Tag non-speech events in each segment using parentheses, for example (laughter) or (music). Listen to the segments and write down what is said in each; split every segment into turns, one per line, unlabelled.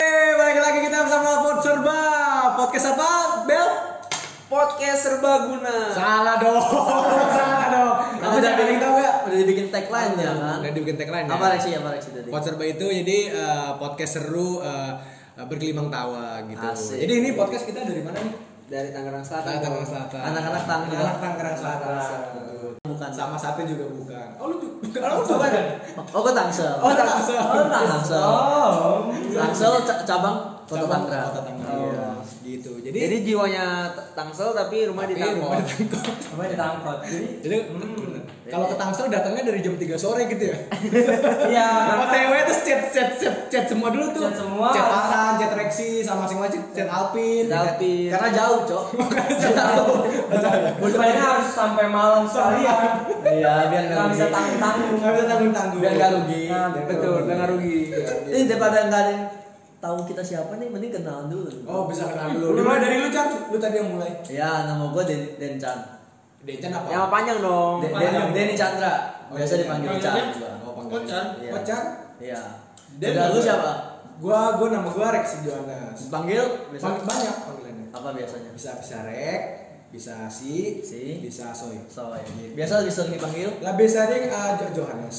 Hey, balik lagi kita bersama Pod Serba. Podcast apa, Bel?
Podcast Serbaguna.
Salah dong. (laughs) Salah dong. Apa
udah
jadi
bikin
tahu enggak?
Udah dibikin tagline ya kan?
Udah dibikin tagline ya.
Apa Reksi? Apa Reksi tadi?
Pod Serba itu jadi eh, podcast seru eh, bergelimang tawa gitu.
Asik.
Jadi ini podcast kita dari mana nih?
Dari Tangerang Selatan.
Tangerang
dong.
Selatan.
Anak-anak Tangerang.
Anak-anak Tangerang Selatan.
Selatan. Bukan.
Sama satu juga bukan. Oh lu juga.
Oh,
lu kan? bukan.
Oh, gue Tangsel.
Oh, Tangsel.
Oh, Tangsel.
Oh.
Tangsel ca- cabang Kota
Cabang
Tangerang.
Kota Tangerang. Iya, gitu. Jadi,
Jadi jiwanya T- Tangsel tapi rumah di
Tapi rumah di
Tangkot.
Tangkot.
Rumah di Tangkot. Jadi
Jadi bener. kalau ke Tangsel datangnya dari jam 3 sore gitu ya.
iya.
OTW terus chat chat chat chat semua dulu tuh.
Chat semua.
Chat Farhan, chat Rexi sama masing-masing chat Alpin.
Tapi
Karena
karena jauh, Cok.
jauh.
Bukannya harus sampai malam sekalian.
Iya, biar
Nggak bisa tanggung-tanggung.
Enggak bisa tanggung-tanggung.
Biar nggak rugi.
Nah,
Betul, biar nggak
rugi.
Ini daripada nggak ada yang tahu kita siapa nih, mending kenalan dulu.
Oh, bisa kenal dulu. Dimulai dari lu, Chan. Lu tadi yang mulai.
Ya, nama gue Den Denchan.
Decan apa?
Yang panjang dong.
Den, Den,
Panjang.
Denny Chandra.
Oh,
Biasa
iya.
dipanggil Chan.
Panggilannya?
gua.
Oh, panggil.
Kocan.
Iya.
Kocan.
Iya.
Den
Dan lu
apa?
siapa?
Gua gua nama gua Rexi Jonas.
Panggil biasa
Panggil banyak panggilannya.
apa biasanya?
Bisa bisa Rex, bisa si,
Si.
bisa Soy.
Soy. Biasa lebih sering dipanggil?
Lah biasa dia uh, Jo- Johannes.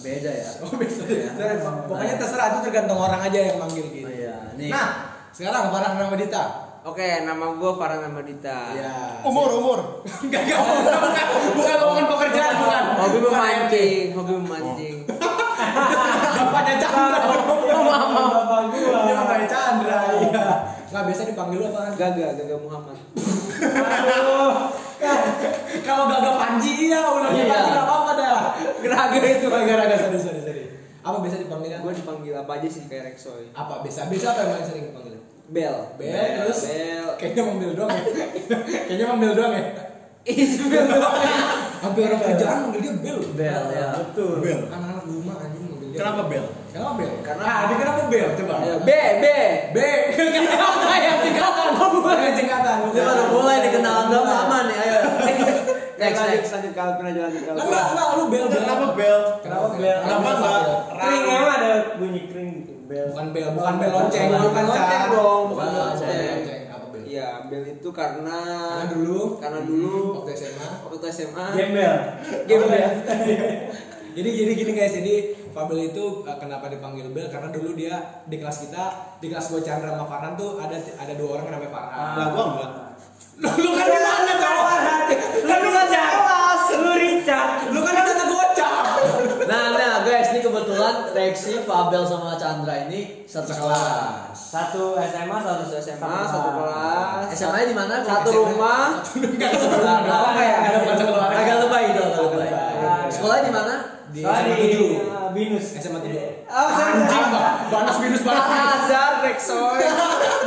Beda ya.
Oh biasa.
Iya.
Sorry, Pak. Pokoknya terserah itu tergantung orang aja yang manggil gitu.
Oh, iya. Nih.
Nah, sekarang Farah Ramadita.
Oke, nama gue Farhan Ahmadita.
Iya. Umur, umur. Enggak, enggak, bukan, bukan, bukan omongan pekerjaan, bukan.
Oh,
Hobi
Bukan
memancing, hobi memancing.
Bapaknya Chandra.
Bapak
Dia bapaknya Chandra, iya. Enggak biasa dipanggil lu apa?
Gaga, Gaga Muhammad.
Kalau gagah Panji iya, ulangnya
Iya.
Panji enggak apa-apa dah.
Geraga itu.
Gara-gara sorry sorry sorry. Apa biasa dipanggil?
Gue dipanggil apa aja sih kayak Rexoy?
Apa biasa? Biasa apa yang paling sering dipanggil?
Bel.
Bel, terus?
Bel.
Kayaknya manggil doang ya. Kayaknya manggil doang ya.
Ismail.
Hampir orang kerjaan manggil dia Bel.
Bel ya.
Betul.
Bel. Anak-anak rumah anjing manggil dia.
Kenapa Bel?
Kenapa Bel?
Karena- Iya,
ah, dia kenapa Bel? Coba.
B, B.
B. (laughs) Kenapa ya jengkatan? Bukan jengkatan.
Ini baru mulai nih kenalan doang lama nih. Ayo. Next,
Next, lanjut,
next.
lanjut kalau pernah jalan kalau.
Lah, Enggak, enggak lu Bel. Bel.
Kenapa Bel?
Kenapa Bel?
Kenapa enggak?
Kering
Rang?
emang ada bunyi kering gitu. Bel.
Bukan Bel, bukan Bel lonceng,
Bukan
bukan
lonceng
Chan.
dong,
bukan
bukan
Bel
lonceng.
lonceng. Apa Bel?
Iya, Bel itu karena
Karena dulu,
karena dulu
waktu SMA.
waktu SMA
Gembel.
game ya.
Jadi jadi gini guys, jadi Fabel itu eh, kenapa dipanggil Bel karena dulu dia di kelas kita, di kelas gua Chandra sama Farhan tuh ada ada dua orang yang namanya Farhan.
Lah gua enggak.
Lu, lu kan di mana cowok? Lu di kelas.
Lu Richard.
Lu kan ada kata gocap.
Nah, nah guys, ini kebetulan Rexi, Fabel sama Chandra ini satu sekolah.
Satu SMA, satu SMA,
Ah,
Ah, satu kelas.
SMA-nya di mana?
Satu rumah.
Enggak sebelah dong.
Apa ya?
Ada bukan sekolah.
Agak lebay itu, agak lebay.
lebay.
Sekolahnya di mana?
di
Sorry,
SMA
Iya,
7.
uh, Binus.
SMA 7.
Oh, sorry.
Anjing, Bang. Banas virus banas virus.
Azar Rexoy.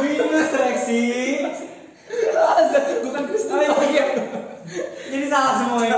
Minus Rexi.
Bukan Kristen.
Oh iya.
Jadi salah
ya.
semuanya.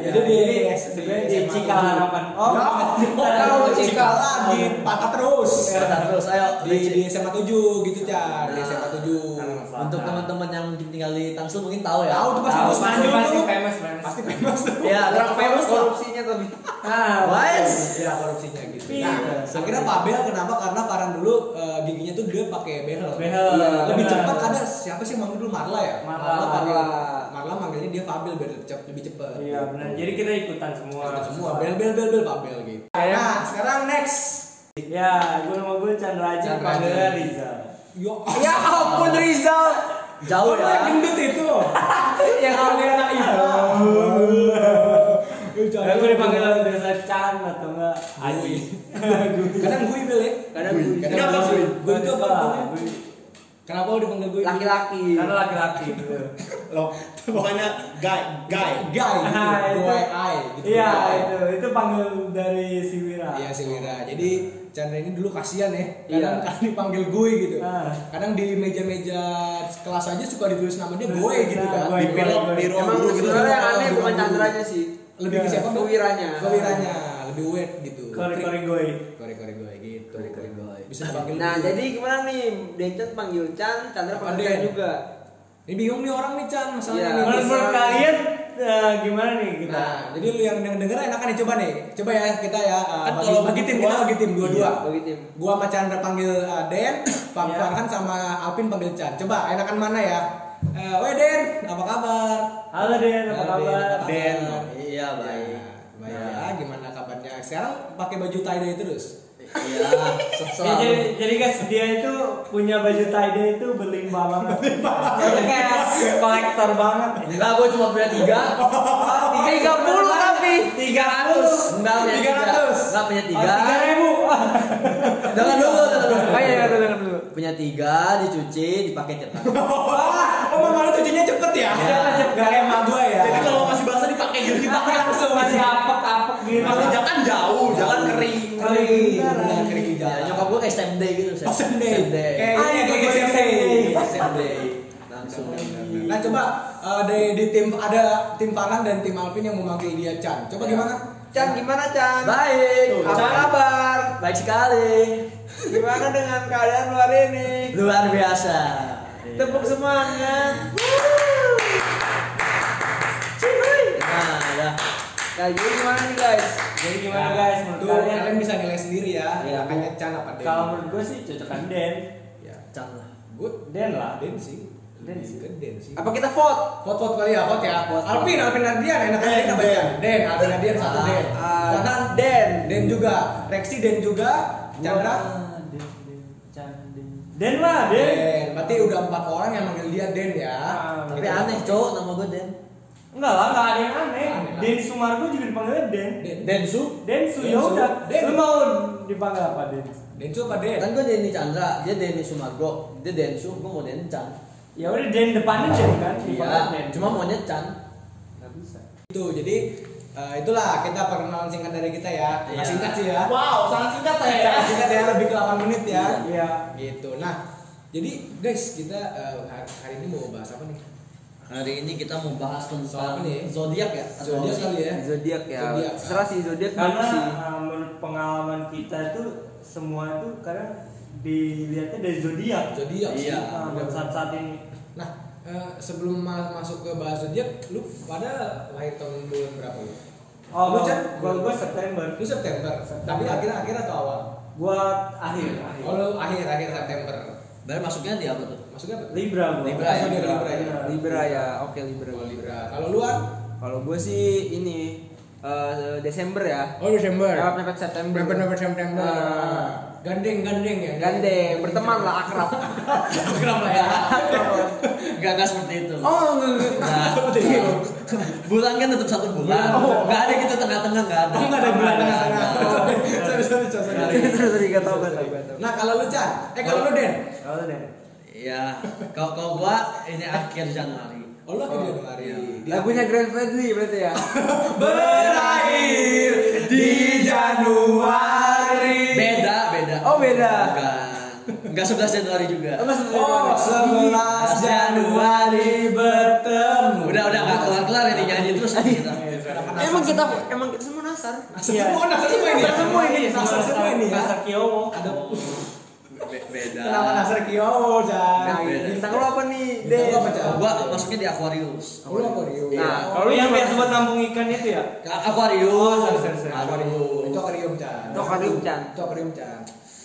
Jadi di di
Di
SMA.
Cikal Harapan.
Oh,
Oh,
kalau cikal lagi patah terus.
Sekolah terus, ayo.
Di
Rexi.
di SMA 7 gitu, Chan. Di SMA 7.
Nah.
Untuk teman-teman yang mungkin tinggal di Tangsel mungkin tahu ya.
Tahu tuh pasti bos Iya. mandul
pasti
tuh.
famous, famous.
Pasti famous tuh.
Ya,
Orang famous
lah.
korupsinya tapi.
Ah,
Wes.
Ya korupsinya gitu.
Iya.
Nah, akhirnya Pak Bel kenapa? Karena Farhan dulu eh, giginya tuh dia pakai behel.
Behel.
Iya, lebih
Benar.
cepat ada siapa sih yang manggil dulu Marla ya?
Marla.
panggil
Marla.
Marla manggilnya dia Fabel biar lebih cepat. Lebih cepat.
Iya, benar. Jadi kita ikutan semua.
Kita semua Bel Bel Bel Bel Fabel gitu.
Kayak-
Nah, sekarang next.
Ya, gua nama gua Chandra Aji,
Chandra
panggilannya
Aji.
Riza.
Yo,
Ya
Iya.
ampun Rizal.
Jauh
Orang
ya.
gendut (laughs) itu. Ya,
Yang kali anak
iya.
ibu.
Yo, jangan.
Ya, gua dipanggil biasa Chan atau enggak
Iya,
Aji. Iya,
Kadang gue Bel ya.
Kadang gue.
Kenapa gue? Gue itu apa?
Gua
namanya?
Gui.
Kenapa lu dipanggil gue?
Laki-laki.
Karena laki-laki gitu.
Iya,
(laughs) Loh, bukannya guy,
Guy, guy, gitu.
Ah, itu.
Gue, I, gitu.
Iya,
Guy.
itu itu panggil dari si Wira.
Iya sih Wira. Jadi Chandra ini dulu kasihan ya.
Iya.
Kadang kadang dipanggil gue gitu.
Ah.
Kadang di meja-meja kelas aja suka ditulis nama dia gue
Tulis
gitu
nama
kan.
ah, gue,
Di
gue,
pilot
gue.
biro
Emang
dulu
sebenarnya yang aneh
Biro
bukan
dulu.
Chandranya sih.
Lebih
Iya.
ke siapa? Bel?
Kewiranya.
Ke Wiranya. Lebih weird gitu.
Kori-kori gue.
Kori-kori gue gitu.
Kori-kori gue.
Bisa dipanggil.
Nah,
gitu.
jadi gimana nih? Dencet panggil Chan, Chandra
Apa
panggil Chan
Den?
juga.
ini bingung nih orang nih Chan
Iya.
masalahnya. nih.
Menurut menurut kalian eh, gimana nih Ya, kita?
Nah, jadi lu yang denger enakan nih coba nih. Coba ya kita ya uh,
Kan
bagi,
kalau
bagi tim,
gua-
kita bagi tim dua-dua.
Iya, bagi tim.
Gua sama Chandra panggil uh, Den, Pak
Iya.
Farhan sama Alvin panggil Chan. Coba enakan mana ya? Eh, weh Den, apa kabar?
Halo Den, apa
Halo, Den,
kabar?
apa
Den.
kabar?
Iya, baik. Iya.
Ya, baik. Ya, gimana kabarnya? Sekarang pakai baju tie-dye terus. Ah,
Iya, se-
Ya,
selalu.
(laughs)
jadi, jadi guys dia itu punya baju tie dye itu berlimpah banget. Itu kayak kolektor banget.
Enggak, gue nah, cuma punya tiga.
(laughs) Oh,
Tiga puluh tapi tiga ratus.
Enggak punya tiga.
300.
Enggak punya tiga.
Ah,
Tiga ribu.
Jangan dulu, jangan dulu.
Oh iya, jangan jangan dulu.
Punya tiga, dicuci, dipakai cetak.
Wah, oh mama lu cucinya cepet ya?
Iya.
Gak kayak emak gua ya.
Jadi kalau masih basah dipakai gitu dipakai langsung.
Masih apek-apek gitu.
Masih jangan jauh, jangan kering.
kering,
Kering.
benar, kering di
Ya,
jalan.
nyokap gue kayak SMD gitu.
Oh, SMD. Kayak
Ah,
ini
iya,
kayak
kayak
SMD.
SMD.
SMD. Langsung.
Nah coba eh, dari di tim ada tim Farhan dan tim Alvin yang memanggil dia Chan. Coba
Ya.
Iya.
gimana?
Chan gimana Chan?
Baik.
Tuh,
Apa
Chan.
kabar?
Baik sekali.
Gimana dengan keadaan lu hari ini?
Luar biasa.
Tepuk semangat.
Nah, ada.
Kayak gini gimana nih guys?
Jadi gimana guys menurut
Tuh
kalian?
kalian bisa nilai sendiri ya.
Iya.
Makanya Chan apa Den?
Kalau menurut gue sih cocokan Den.
ya.
Cang lah.
Gue
Den lah.
Den sih.
Den sih.
Ke Den sih.
Apa kita vote?
Vote vote kali ya, vote ya.
Vote, vote.
Alvin, Alvin Ardian, enak Den apa Chan? Den, Alvin Ardian satu
Ah,
Den.
ah,
Farhan
Den.
Den juga. Rexi Den juga. Chandra.
Den, Den, Chan, Den. Den lah, Den.
Den. Berarti udah empat orang yang manggil dia Den ya.
Ah,
Tapi aneh cowok nama gue Den.
Enggak lah, enggak ada yang aneh.
Aneh lah.
Den Sumargo juga dipanggilnya Den.
Den.
Densu.
Den Su
Den
ya
Su.
udah.
Den.
Lu mau dipanggil apa Den?
Den apa Den?
Kan gue Denny Chandra, dia Denny Sumargo, dia Densu, gue mau Denny Chan.
Ya udah Den depannya Den kan, dipanggil Den.
Iya, cuma maunya Chan.
Nggak bisa.
Itu Gitu. jadi eh, itulah kita perkenalan singkat dari kita ya. Nggak
Iya.
Singkat sih ya.
Wow, sangat singkat ya.
Sangat singkat ya lebih ke 8 menit ya.
Iya.
Gitu. Nah, jadi guys kita eh, hari- hari ini mau bahas apa nih?
Hari ini kita mau bahas
Soal
tentang
ini.
zodiak ya. Atau
Zodiak
sih?
kali ya.
Zodiak ya.
Zodiak.
Serah sih zodiak
Karena
sih.
eh, menurut pengalaman kita tuh semua tuh kadang dilihatnya dari zodiak.
Zodiak sih.
Iya.
Nah, buat saat-saat ini.
Nah, eh, sebelum ma- masuk ke bahas zodiak, lu pada lahir tahun bulan berapa lu?
Oh,
Lu, Chan?
kalau gue September.
Lu September.
September.
Tapi akhir-akhir atau awal?
Gua akhir, akhir.
Oh, lu akhir-akhir September.
Berarti masuknya di apa tuh?
Maksudnya apa?
Libra gua.
Libra ya?
Oh, dia Libra ya.
Libra ya. Oke Libra.
Oh, Libra. Kalau lu An?
Kalau gue sih ini eh, Desember ya.
Oh, Desember.
Lewat mepet September.
November September.
Ah.
Gandeng gandeng ya.
Gandeng, berteman lah akrab.
Akrab lah
(laughs)
ya.
Enggak, enggak seperti itu.
Oh, enggak, enggak.
Nah, (laughs) bulan kan tetap satu bulan. Enggak ada gitu tengah-tengah enggak ada.
Kamu Oh. nggak ada bulan
Nah,
tengah-tengah. Sorry, sorry, sorry, sorry.
Sorry, sorry, gak tau, gak tau, gak tau.
Nah kalau lu Chan, eh kalau lu Den,
Kalau deh.
Ya, kalau kalau gua ini akhir Januari.
oh lu akhirnya dong hari di-
Lagunya Grand Fredly berarti ya.
berakhir di Januari.
Beda, beda.
Oh, beda.
Bukan. Enggak 11 Januari juga.
Apa sebenarnya?
Oh, iya. 11 Januari bertemu.
Udah, udah enggak kelar-kelar ini nyanyi terus nih kita.
Emang kita emang kita semua nasar.
Iya. Semua nasar semua ini.
Nasar semua ini.
Nasar semua ini ya.
Masa Kiowo.
Ada
Be- Beda.
kenapa Nasar Kiowo,
Nah,
Chan?
Beda.
bintang lo apa
Bintang
nih? Den?
lo apa, Cak?
Kalau Gua masuknya di Aquarius.
Lu Aquarius.
Nah, kalau
Kalau
lu
yang
gimana?
biasa buat nampung ikan itu ya?
Ka- Aquarius.
sorry, sorry, sorry.
Aquarius.
Itu aquarium Chan.
Itu aquarium, Chan.
Itu aquarium, Chan.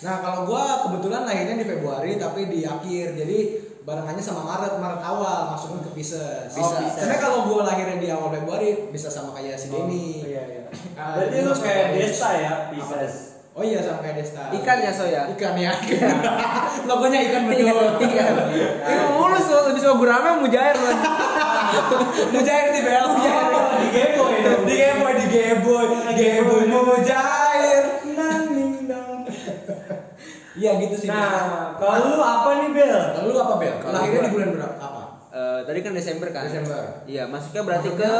Nah, kalau gua kebetulan lahirnya di Februari tapi di akhir. Jadi barengannya sama Maret, Maret awal masuknya ke Pisces.
Bisa.
Oh, Pisces. Sebenarnya kalau gua lahirnya di awal Februari bisa sama kayak si Denny.
Oh, iya, iya.
Ah,
Berarti
jadi
lu
masuk
kayak
Aquarius.
desa ya, Pisces.
Oh iya sama kayak Desta.
Ikan ya, Soya?
Ikan ya. (laughs) Logonya ikan betul.
Ini mulus lo, lebih suka gurame mujair lo.
Mujair sih Bel. Mujair.
Di Gebo ya.
Di geboy, di geboy, geboy mujair.
Nanging dong.
Iya gitu sih.
Nah, kalau lu apa nih Bel?
Lalu lu apa Bel?
Kalau
Lahirnya
gua-
di bulan berapa? Apa?
Eh, tadi kan Desember kan?
Desember.
Iya, masuknya berarti ke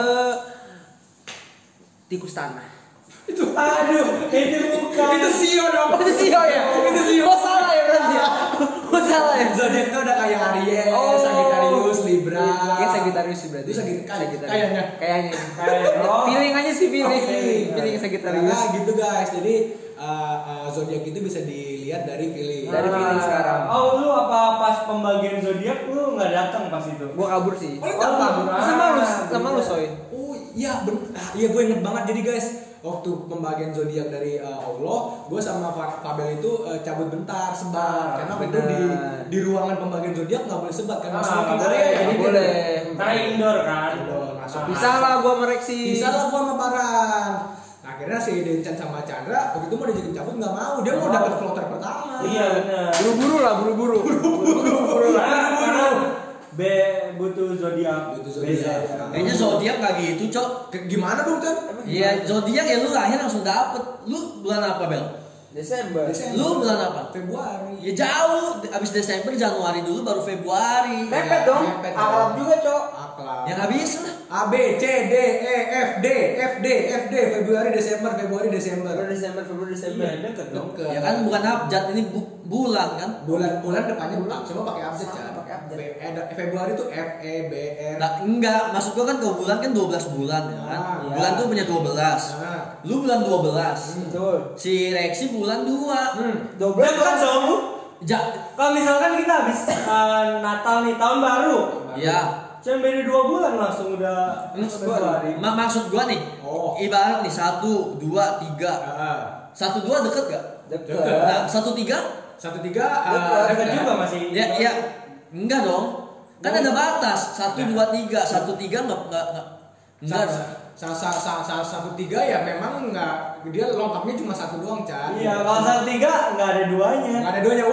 tikus tanah.
Itu
Aduh, itu bukan.
itu sio dong.
Oh, itu Sio
(laughs)
ya? Itu Sio. Oh, salah ya berarti ya? Oh, salah ya?
Zodiaknya udah kayak Aries,
Oh.
Sagittarius, Libra.
Iya, Sagittarius sih berarti.
Itu Sagittarius.
Sagittarius.
Kayaknya.
Kayaknya.
Kayak, oh.
Feeling aja sih feeling.
Oke.
Feeling
Karena
Sagittarius.
gitu guys. Jadi eh, eh, zodiak itu bisa dilihat dilihat dari feeling. Nah.
Dari feeling sekarang.
Ah. Oh lu apa pas pembagian zodiak lu nggak datang pas itu?
Gua kabur sih.
Oh, lu
kabur.
Sama lu,
Ah,
sama lu
bener.
soy.
Oh iya ben- ah, iya gue inget banget jadi guys waktu pembagian zodiak dari uh, Allah, gue sama Fa- Fabel itu uh, cabut bentar sebar
Ah,
karena waktu itu di
benar.
di ruangan pembagian zodiak nggak boleh sebat karena ya.
Ah,
semua
nggak
kita
boleh,
jadi
nggak
kita-
boleh.
Karena indoor kan.
Indoor, masuk.
Ah.
Bisa lah gua mereksi.
bisa lah gue sama Parang. Nah, akhirnya si Dencan sama Chandra waktu itu mau diajakin cabut nggak mau dia mau
Nggak
dapat
mau.
kloter pertama.
Iya benar.
Buru-buru lah, buru-buru.
Karena karena B butuh zodiak. ya. Iya,
Butuh zodiak.
Kayaknya zodiak gak gitu, Cok.
Ke- Gimana dong kan?
Iya, zodiak ya lu lahir langsung dapet. Lu bulan apa, Bel?
Desember.
Lu bulan apa?
Februari.
Ya jauh, abis Desember Januari dulu baru Februari.
Mepet dong.
Mepet dong.
Akrab juga, Cok.
Akhlak.
Ya nggak bisa lah.
A B C D E F D F D F D Februari Desember Februari Desember
Februari Desember, Februari Desember.
Iya deket dong.
Deket.
Ya kan bukan abjad ini bu- bulan kan.
bulan bulan depannya bulan cuma pakai abjad
Sama,
kan
pakai abjad.
Fe- eh, da- Februari tuh F E B R
Nah, enggak, maksud gua kan kalau bulan kan 12 bulan ya kan.
Ah,
iya.
Bulan tuh punya 12.
Nah,
Lu bulan 12.
Betul.
Si Rexi bulan 2.
hmm.
Double
Udah bukan
kan?
zomu.
Ja
kan, Kalau misalkan kita habis eh, Natal nih tahun baru,
ya.
cuma beda dua bulan langsung udah
Ini
Februari.
Ma- maksud gua nih,
Oh.
ibarat nih 1 2 3.
Ah.
1 2 deket gak?
Dekat.
Nah, 1 3
satu tiga ah,
Dekat,
Deket
ya.
juga masih.
ya ya enggak dong. Kan ada batas. 1 2 3. 1 3 enggak enggak enggak. Enggak.
Sa- sa- sa- sa- sa- satu tiga ya memang nggak dia lengkapnya cuma satu doang Chan
Iya, kalau satu tiga nggak ada duanya.
nggak ada duanya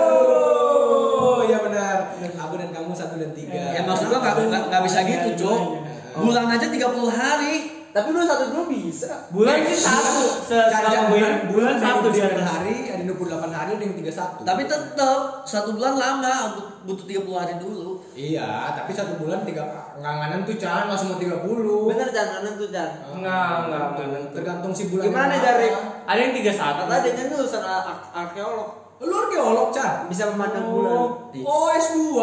waduh ya benar aku dan kamu satu dan tiga
Ya maksud gua nggak- nggak nggak bisa gitu, Cok.
iya.
Bulan aja 30 hari.
Tapi lu satu dulu bisa.
Bulan sih satu. Se-
Caca, bulan,
Selama bulan bulan
ada yang
satu di
29
atas.
hari, ada yang 28 hari, ada yang 31
Tapi tetap satu bulan lama, but- butuh 30 hari dulu.
Iya, tapi satu bulan tiga nganganan tuh Chan, nggak semua 30
Bener jangan kanan tuh Jan.
Ah,
Nggak, nggak, nggak, nggak.
Tergantung si bulan
Gimana
yang
dari?
mana.
Ada yang tiga satu.
Kata dia kan lulusan a- ar- arkeolog
Lu arkeolog, Chan?
bisa memandang bulan.
Oh, S2 S2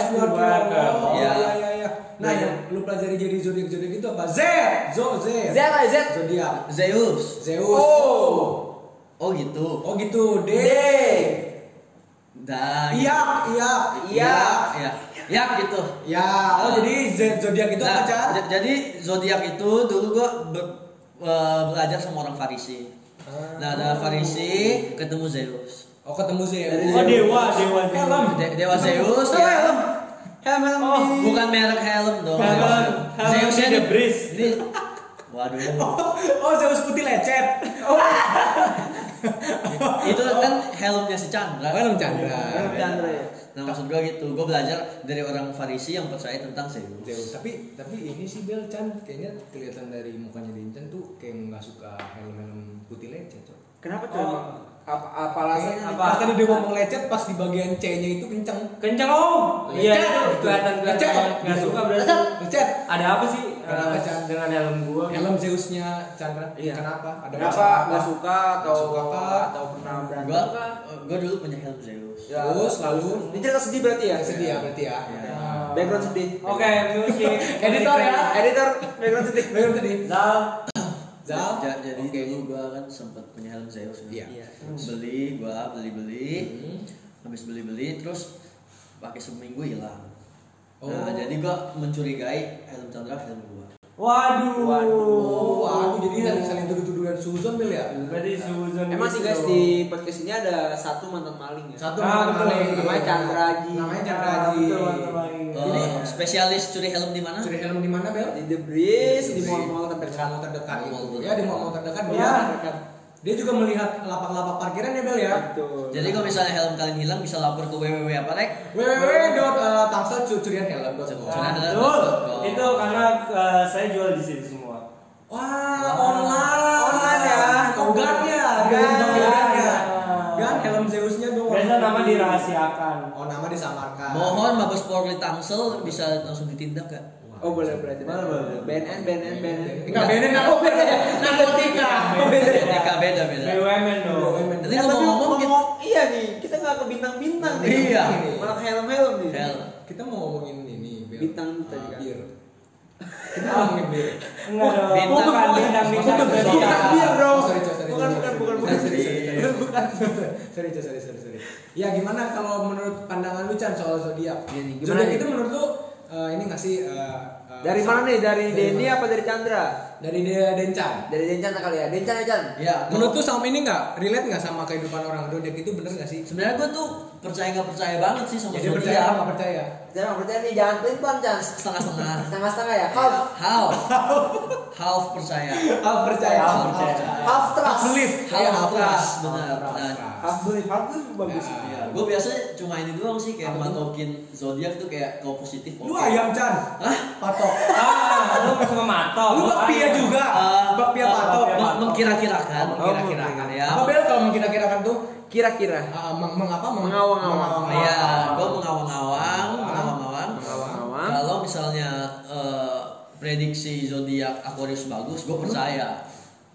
S2 kan.
arkeolog
Iya.
Iya, iya, iya Nah, yang lu pelajari jadi zodiak-zodiak itu apa? Z! Zo, Z
Z lah Z.
Zodiak
Zeus.
Zeus
Oh.
Oh gitu.
Oh gitu, D
D.
Dah.
Iya, iya
Iya.
Ya. Ya gitu.
Ya, oh jadi Z zodiak itu
Nah,
apa, Chan?
j- jadi zodiak itu dulu gua ber- eh, belajar sama orang Farisi. Nah, ada Farisi ketemu Zeus.
Oh, ketemu Zeus
Oh dewa, dewa, dewa.
Helm.
De- Dewa Zeus (laughs)
Helm,
ya.
helm. Helm, helm.
Oh,
Bukan merek helm dong.
Helm, helm
Zeusnya
the
nih-
Breeze.
Ini. Waduh.
(laughs) Oh, Zeus putih lecet.
itu kan helmnya si Chandra.
Helm Chandra.
Helm Chandra, ya.
Nah maksud gua gitu, gua belajar dari orang Farisi yang percaya tentang Zeus.
Zeus. Tapi tapi ini sih Bel Chan kayaknya kelihatan dari mukanya Dincen tuh kayak nggak suka helm-helm putih lecet. Cok.
Kenapa tuh?
Oh.
emang? Apa apa alasannya?
Kayaknya
apa?
Pas tadi dia ngomong lecet pas di bagian C-nya itu kenceng.
Kenceng om. Iya,
Kenceng.
itu kelihatan kelihatan
Kenceng.
banget. Nggak suka berarti.
Lecet.
Ada apa sih?
Kenapa,
eh,
Chan?
Dengan helm gua.
Helm Zeusnya Chandra.
Iya.
Kenapa? Ada
Kenapa
masalah apa?
nggak suka atau
Nggak suka kah?
atau pernah berantem
Gua,
kah?
gua dulu punya helm Zeus.
Ya.
Terus lalu
Ini cerita sedih berarti ya?
sedih ya berarti ya.
Ya.
Background sedih.
Oke, musik.
Editor ya.
Editor background sedih.
Lalu tadi.
Zal.
Zal.
Ja- jadi dulu gua kan sempet punya helm Zeus. kan.
Iya.
Iya.
Beli, gua beli beli,
Hmm.
habis beli beli, terus pakai seminggu hilang.
Oh.
Nah, jadi gua mencurigai helm Chandra helm gua.
Waduh.
Oh, waduh jadi saling tuduh-tuduhan Susan Bel ya.
Berarti Susan.
Emang sih guys di podcast ini ada satu mantan maling ya.
Satu mantan
Ah, betul.
maling.
Namanya Chandra Haji.
Namanya Chandra
Ah,
Haji.
betul, mantan maling.
Eh, spesialis curi helm di mana?
ya? Curi helm di mana, Bel?
Di The Breeze, di mall-mall terdekat.
Mall terdekat itu.
Mall
Ya, di mall terdekat dia.
Iya.
Mall terdekat.
Dia juga melihat lapak-lapak parkiran ya, Bel ya.
Iya.
Betul.
Jadi kalau misalnya helm kalian hilang bisa lapor ke www apa rek?
www.tangselcurianhelm.com
Nah, betul. Itu karena eh, saya jual di sini semua.
Wah, online.
Online ya.
Oh, gan ya.
Gan.
Gan, gan ya.
Gan.
Gan helm Zeusnya dong.
Iya. Biasa nama dirahasiakan.
Oh, nama disamarkan.
Mohon Mabes Polri Tangsel bisa langsung ditindak gak?
Oh boleh boleh.
Boleh, boleh.
BNN BNN BNN.
Enggak bener enggak oh, bener. Narkotika.
BTK beda beda.
BUMN dong.
Nanti
Tapi
ngomong-ngomong kita,
ngomong- iya nih kita nggak ke bintang-bintang nih.
Iya.
Malah helm-helm nih.
Hel,
Kita mau ngomongin ini, Bel.
Bintang tadi
Ah,
kan. (laughs)
bir. Kita ngomongin bir.
Enggak dong.
Bintang.
Bukan bintang bintang.
Bukan
Bukan
bintang.
bir Iya, bro.
Oh, sorry, sorry, sorry,
Bukan
sorry,
bukan
sorry,
bukan
sorry, sorry,
bukan.
sorry, sorry.
iya.
bukan sorry Chan, sorry sorry sorry ya gimana kalau menurut pandangan lu Chan soal zodiak
Iya nih, gimana
zodiak
nih?
itu menurut lu eh, ini nggak sih eh, eh,
Dari
sa-
mana nih? Dari
Dari
Denny
mana?
apa dari Chandra?
dari De- Dencan
Dari Dencan kali ya. Dencan ya, Chan.
Ya,
menurut lu sama ini nggak relate nggak sama kehidupan orang zodiak itu bener nggak sih
sebenarnya gue tuh percaya nggak percaya banget sih sama
jadi
zodiak.
percaya apa nggak percaya
Jangan percaya nih, jangan pelin-pelan, Chan.
setengah-setengah.
Setengah-setengah ya. Half
(laughs) Half, half percaya.
half percaya
Half
half
percaya.
percaya
half
half
trust.
belief
Half trust,
trust.
benar.
Half trust,
Nah,
trust.
Half belief, half belief bagus.
Ya.
Iya.
Ya, gue biasanya cuma ini doang sih kayak
Apa tuh?
matokin zodiak tuh kayak kau positif.
lu
oke.
ayam Chan
Hah?
patok
Ah, lu cuma matok.
lu bakpia juga
Ah,
bakpia
ah,
patok
bakpia.
Mem- mengkira-kirakan,
Oh,
mengkira-kirakan ya.
apa bel kalau mengkira-kirakan tuh
Kira-kira.
Ah, meng, meng apa? Meng- mengawang-awang.
Mengawang-awang.
Iya, gue mengawang-awang, mengawang-awang.
Mengawang-awang.
Kalau misalnya eh, prediksi zodiak Aquarius bagus, gue percaya.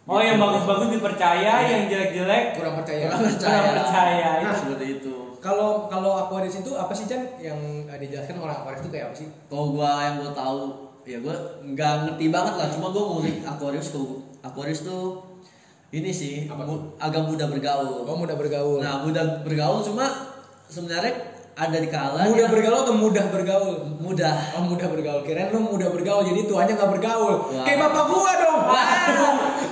Oh, yang bagus-bagus dipercaya, yang jelek-jelek
Kurang percaya.
Kurang percaya.
kurang percaya.
Nah, seperti itu.
Kalau kalau Aquarius itu apa sih Chan yang eh, dijelaskan orang Aquarius itu kayak apa sih?
Kalau gue yang gue tahu, ya gue nggak ngerti banget lah. Cuma gue ngulik Aquarius, kalau Aquarius tuh ini sih
Apa
mu- agak mudah bergaul.
Oh mudah bergaul.
Nah, mudah bergaul cuma sebenarnya ada di kala
mudah
dia
bergaul atau mudah bergaul?
mudah.
Oh mudah bergaul. Kirain lu mudah bergaul jadi tuanya nggak bergaul.
Wah.
Kayak bapak gua dong.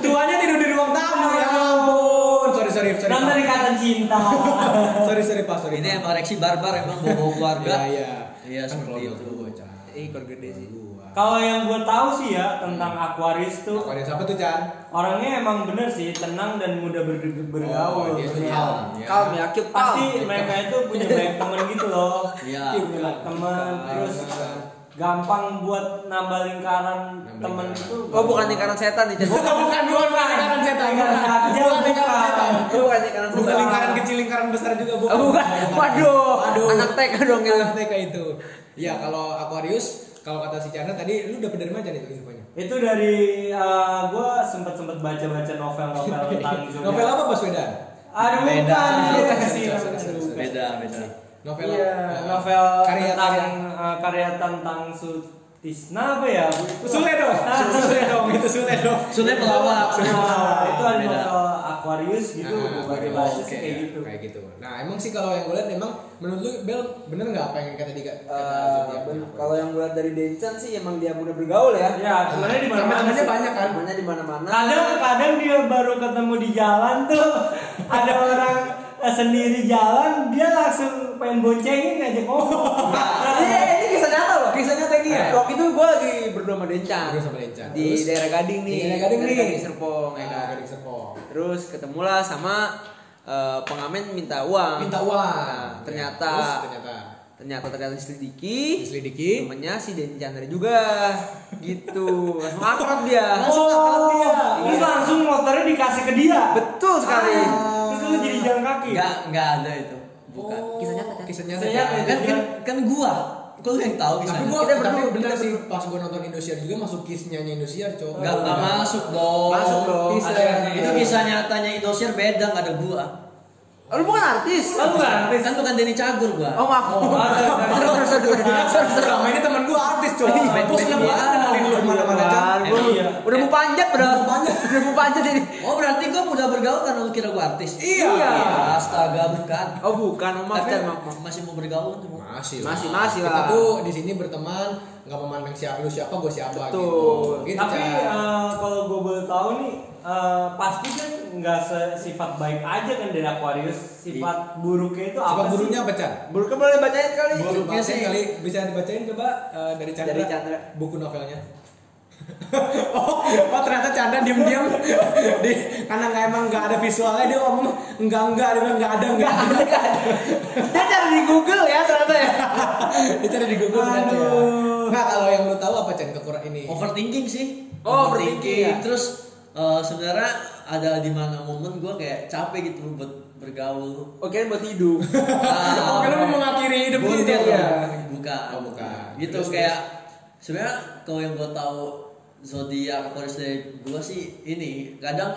tuanya tidur di ruang tamu ya ampun. Sorry sorry sorry.
Dan dari
Pak.
kata cinta.
(laughs) Sorry sorry pak sorry.
Ini
Pak.
emang reaksi barbar emang bawa keluarga.
Iya
(laughs) Ya,
iya.
Iya,
Kan
seperti
keluarga
itu.
gua, Chan.
Ih, keluarga gede sih.
Gua.
Kalau yang gue tahu sih ya tentang Aquarius tuh
Aquarius apa tuh Chan?
orangnya emang bener sih tenang dan mudah ber-
Oh,
bergaul.
dia tuh
Iya.
calm. Iya.
Calm ya, keep calm.
Pasti mereka itu punya banyak temen gitu loh.
Iya.
Iya, Punya banyak temen
Calm.
terus gampang buat nambah lingkaran
Nambah
temen
lingkaran.
itu.
Oh, (laughs) bukan lingkaran setan nih, Chan.
Bukan bukan bukan lingkaran setan.
Lingkaran kerja,
Bukan lingkaran
bukan.
setan.
Oh, bukan lingkaran
Bukan
setan.
lingkaran kecil, lingkaran besar juga bukan.
Oh, bukan. Waduh. Anak TK dong ya.
Anak TK itu. Ya kalau Aquarius, kalau kata si Chandra tadi, lu dapet dari mana Chan itu infonya?
Itu dari gue sempet sempet baca baca novel (laughs) novel tentang zodiak.
Novel apa Baswedan?
Aduh,
Beda.
bukan
Beda.
Iya, sih,
Beda.
novel.
Beda.
Beda, beda.
Novel
Iya,
apa?
novel
karya
tentang
karya.
eh, karya tentang Sutisna apa ya?
Sule dong, Sule dong, itu Sule dong.
Sulit pelawak.
Nah, itu ada
Beda.
novel Aquarius gitu,
Ah,
gue baca
Aquarius,
baca
oke,
sih kayak
ya,
gitu.
Kayak gitu. Nah, emang sih kalau yang gue lihat emang menurut lu Bel bener nggak apa yang kata Dika? kata
Eh,
Zodiac?
ben- Kalau yang gue lihat dari Dencan sih emang dia mudah bergaul ya.
Ya, sebenarnya di mana
Teman-temannya banyak kan?
Namanya di mana-mana.
Kadang-kadang dia baru ketemu di jalan tuh (laughs) ada orang eh, sendiri jalan dia langsung pengen boncengin aja ngomong.
Iya, ini kisah nyata loh. Kisah nyata ini ya. Waktu itu gue lagi berdua sama Dencan.
Berdua sama Dencan.
Di
Terus?
daerah Gading nih.
Di daerah Gading nih.
Serpong ya
Ah,
kan.
Gading Serpong.
Terus ketemulah sama eh, pengamen minta uang.
Minta uang.
Nah, ternyata
Terus ternyata
ternyata ternyata diselidiki.
diselidiki.
Temennya si Denny Chandra juga gitu. Langsung akrab dia.
Oh, terus langsung motornya dikasih ke dia. Ah.
Betul sekali.
Terus lu jadi jalan kaki.
Enggak, enggak ada itu. Bukan.
Kisah nyata, kan?
Kisah
Kisah nyata,
nyata.
Kan, kan, kan gua. Kok lu yang tahu
Tapi
misalnya?
gua
Kita
tapi
berdua,
bener
kita
sih pas gua nonton Indosiar juga masuk kisnya-nya Indosiar, Cok.
Enggak, enggak masuk dong.
Masuk dong.
Ada-
Kisah.
itu kisah nyatanya Indosiar beda enggak ada gua.
Oh, lu bukan artis?
Oh, bukan.
Artis kan bukan Denny Cagur gua.
Oh, maaf.
Oh,
Sorry, sorry, sorry, sorry, sorry.
Selama ini temen gua artis, Cok.
Iya,
Gua seneng banget kenalin lu kemana-mana, Cok.
Apaan, gua
Iya.
udah mau panjat udah mau panjat udah (laughs) mau panjat ini
Oh, berarti gua mudah bergaul karena lu kira gua artis.
Iya.
Astaga, bukan.
oh bukan oh,
Tapi
maaf Chan, maaf, maaf.
masih mau bergaul tuh.
Masih,
Masih, masih
Kita
lah.
tuh di sini berteman, nggak memandang siapa lu siapa, gua siapa
Betul.
gitu. Gitu,
Tapi
Chan.
eh, kalau gue boleh tahu nih, eh, pasti kan nggak se- sifat baik aja kan dari Aquarius. Sifat buruknya itu
Coba
apa sih?
gurunya apa, Chan?
Buruknya boleh bacain kali
Guru
Buruknya
bacain
sih-
kali bisa dibacain coba eh, dari Chandra.
Dari Chandra.
Buku novelnya. (laughs) oh, oh, ternyata Chandra diam-diam (laughs) di karena nggak emang nggak ada visualnya dia ngomong enggak enggak dia bilang enggak ada enggak ada.
dia cari di Google ya ternyata ya
(laughs) Dia cari di Google ternyata ya. Nah, kalau yang lu tahu apa Chan kekurangan ini?
overthinking sih
Oh, overthinking,
iya.
ya.
terus eh, sebenarnya ada di mana momen gue kayak capek gitu buat
(laughs)
bergaul
oke buat hidup
Oh,
Ah,
karena mau mengakhiri hidup
bukan,
gitu ya.
bukan
Oh, bukan.
gitu
Terus,
kayak sebenarnya kalau yang gue tahu zodiak Aquarius dari gue sih ini kadang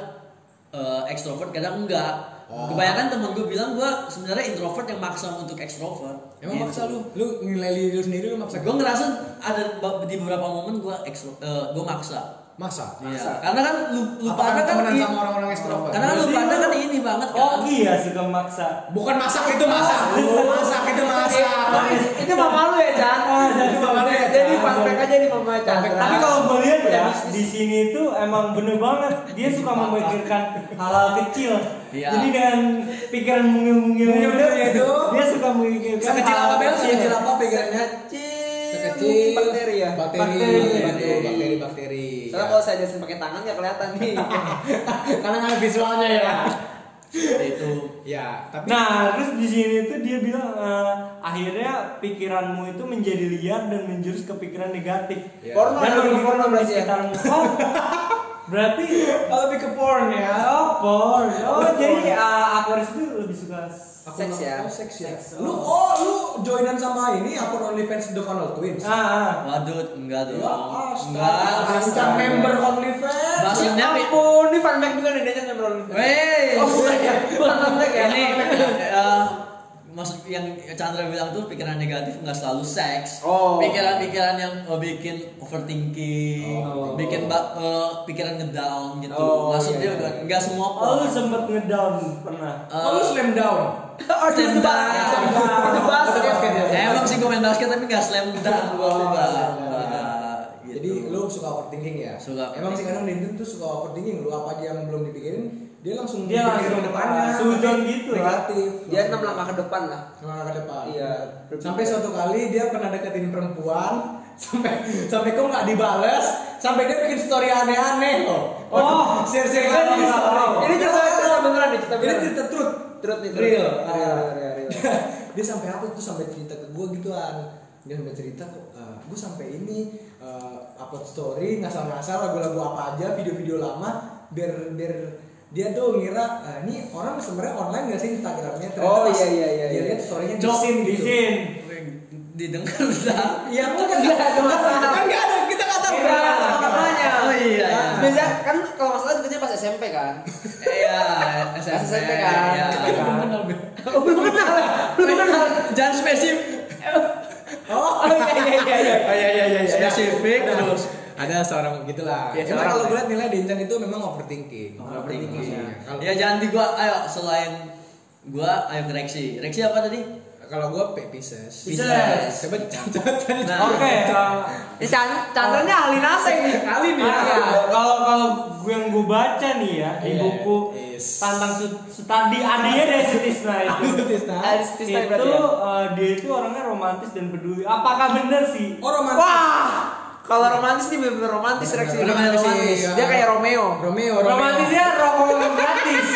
eh, ekstrovert kadang enggak
Oh.
Kebanyakan temen gue bilang gue sebenarnya introvert yang maksa untuk ekstrovert.
Emang
Gitu.
maksa lu? Lu nilai diri lu sendiri lu maksa
Gue ngerasa ada ba- di beberapa momen gue ekstro, gue maksa.
Maksa.
Iya. Karena kan lu, lu
Apa
pada
kan
kan
temenan
i-
sama orang-orang ekstrovert?
Karena lu
Berarti
pada
lu-
kan ini banget kan.
Oh iya suka maksa.
Bukan masak itu masak. Masak itu masak.
Tapi itu mama lu ya, Chan.
itu mama lu ya,
Jadi
Chan.
fun fact aja nih mama Chandra.
Tapi kalau gue lihat ya
Punya
di
bisnis.
sini itu emang bener banget dia suka memikirkan hal-hal kecil.
Iya.
Jadi dengan pikiran mungil-mungil itu,
Mungil-mungil itu,
dia suka memikirkan
Sekecil
hal-hal
apa bel?
kecil.
Sekecil apa pikirannya?
Kecil,
Sekecil
bakteri ya.
Bakteri, iya.
Bakteri.
bakteri, bakteri, bakteri.
Soalnya kalau saya jelasin pakai tangan nggak kelihatan nih. Ya
Karena nggak ada visualnya ya.
Seperti itu.
Ya, tapi
Nah, terus di sini tuh dia bilang "Eh, akhirnya pikiranmu itu menjadi liar dan menjurus ke pikiran negatif.
Ya.
Porno
Dan
ada di porno
merugikan orang di
berarti ya.
sekitarmu. Oh, berarti
oh, lebih ke porn ya.
oh, porn. Oh, jadi eh, Aquarius itu lebih suka s-
Aku
Seks ya.
Oh, seks ya.
Seks.
Lu oh lu joinan sama ini akun OnlyFans The Connell Twins.
ah, ah.
Waduh, enggak dong.
Ya, astaga.
enggak.
Ancam member OnlyFans.
Maksudnya,
Ya ampun, ini fun fact juga nih dia nyampe roll.
Wey.
Oh, bukan ya. Bukan fun fact ya.
ini (laughs) eh, maksud yang Chandra bilang tuh pikiran negatif nggak selalu seks
Oh.
pikiran-pikiran yang eh, bikin overthinking
Oh.
bikin ba- eh, pikiran ngedown gitu
Oh,
maksudnya
iya,
udah nggak semua
Oh, lu sempet ngedown pernah.
Eh,
Oh, lu slam down.
Oh, itu
Tendang.
dibahas. Itu dibahas.
Itu basket ya.
emang sih gue main basket tapi nggak slam dunk gua
Oh, iya,
nggak
iya.
nggak gitu.
Jadi lu suka overthinking ya?
Suka
Emang sih kadang Dindin tuh suka overthinking. Lu apa aja yang belum dipikirin, dia langsung
Dia
dipikirin
langsung,
ke depannya.
ah, suzon gitu lah.
Negatif.
Dia enam langkah ke depan lah.
Semangat ke depan.
Iya.
Sampai suatu kali dia pernah deketin perempuan (laughs) sampai sampai kok nggak dibales, sampai dia bikin story aneh-aneh loh.
Oh,
share-share
ini
lagi. Iya.
story.
Ini cerita cerita beneran nih, cerita
Ini
beneran.
cerita truth.
Truth nih, truth.
Real.
Real,
Ah.
real, real.
(laughs) dia sampai apa tuh sampai cerita ke gue gituan. Dia sampai cerita kok gue sampai ini eh, upload story ngasal-ngasal lagu-lagu apa aja, video-video lama biar biar dia tuh ngira "Ah, ini orang sebenarnya online gak sih Instagramnya?
Oh,
pas
iya, iya, iya,
Dia
iya.
lihat storynya di
Jok,
scene
Di
gitu.
scene.
didengar udah
Iya, enggak ada
(laughs)
masalah. Kan enggak ada, kita kata
Ini ada apa-apanya.
oh iya iya.
Biasa kan kalau masalah biasanya pas SMP kan.
iya
SMP
SMP
kan.
iya.
SMP kan.
(laughs)
Oh, belum kenal. Belum kenal.
jangan spesifik
Oh,
iya, iya, iya,
(laughs)
iya.
Oh, iya, iya, iya, iya.
Spesifik,
Ada-
terus.
ada Nah, seorang gitulah.
Iya,
Emang
seorang
kalau
ya.
gue lihat nilai Dincan itu memang overthinking.
Overthinking.
maksudnya. Kalau
Ya jangan di gua, ayo selain gua, ayo ke Rexi. Rexi apa tadi?
kalau gue pe- Pisces.
Pisces.
Coba (laughs) coba
Nah,
Oke.
Iya.
Ini
eh,
Chan- Chandranya ahli nasi nih. Ahli
ya.
Ah, Kalau kalau gue yang gue baca nih ya di
Iya,
buku
is.
tantang Sut- Sutadi adanya dari Sutisna itu.
Tisna.
Ahli
itu
Tisna berarti ya.
eh, dia itu orangnya romantis dan peduli. Apakah bener sih?
Oh, romantis.
Wah, kalau romantis nih bener-bener romantis reaksi
Bener-bener romantis.
Dia kayak Romeo.
Romeo, Romeo.
Romantisnya rokokan gratis.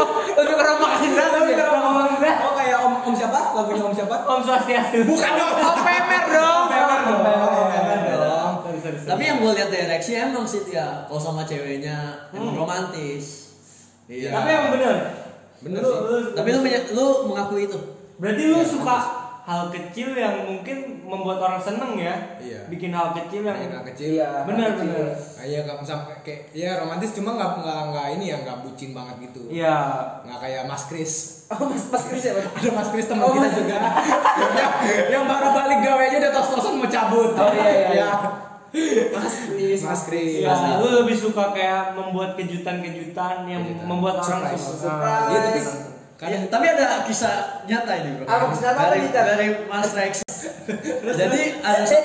Oh, lebih ke romantis
Tapi
lagi.
kalau rokokan gratis,
Oh, kayak Om Om siapa? Lagunya Om siapa?
Om Swastiastu.
Bukan dong.
Oh, pemer dong.
Pemer dong. Pemer dong.
Sorry, sorry, sorry.
Tapi yang gua lihat dari Rexi emang sih dia kalau sama ceweknya emang romantis. Iya.
tapi yang bener.
Bener
Lu-
sih.
lu-
Tapi lu menye- lu mengakui itu.
Berarti lu
Iya.
suka hal kecil yang mungkin membuat orang seneng ya?
Iya.
Bikin hal kecil yang
Anak kecil.
Iya.
bener bener.
Ah, Iya, nggak sampai kayak ya romantis cuma nggak nggak nggak ini ya nggak bucin banget gitu.
Iya.
Nggak kayak Mas Kris. (laughs)
Oh, Mas Mas Kris ya, Mas.
ada Mas Kris teman
Oh,
kita
Mas.
juga
(laughs)
yang, yang baru balik gawe aja udah tos-tosan mau cabut
Oh, iya, iya, iya.
Ya.
Mas Kris.
Mas Kris
Iya, lu lebih suka kayak membuat kejutan-kejutan yang
Kejutan.
membuat orang
Ya. Surprise.
suka.
Surprise.
Iya, tapi
Ya,
kadang
tapi ada kisah nyata ini bro.
Apa kisah apa
dari,
nih, Chan?
dari Mas
(laughs)
Rex. jadi ada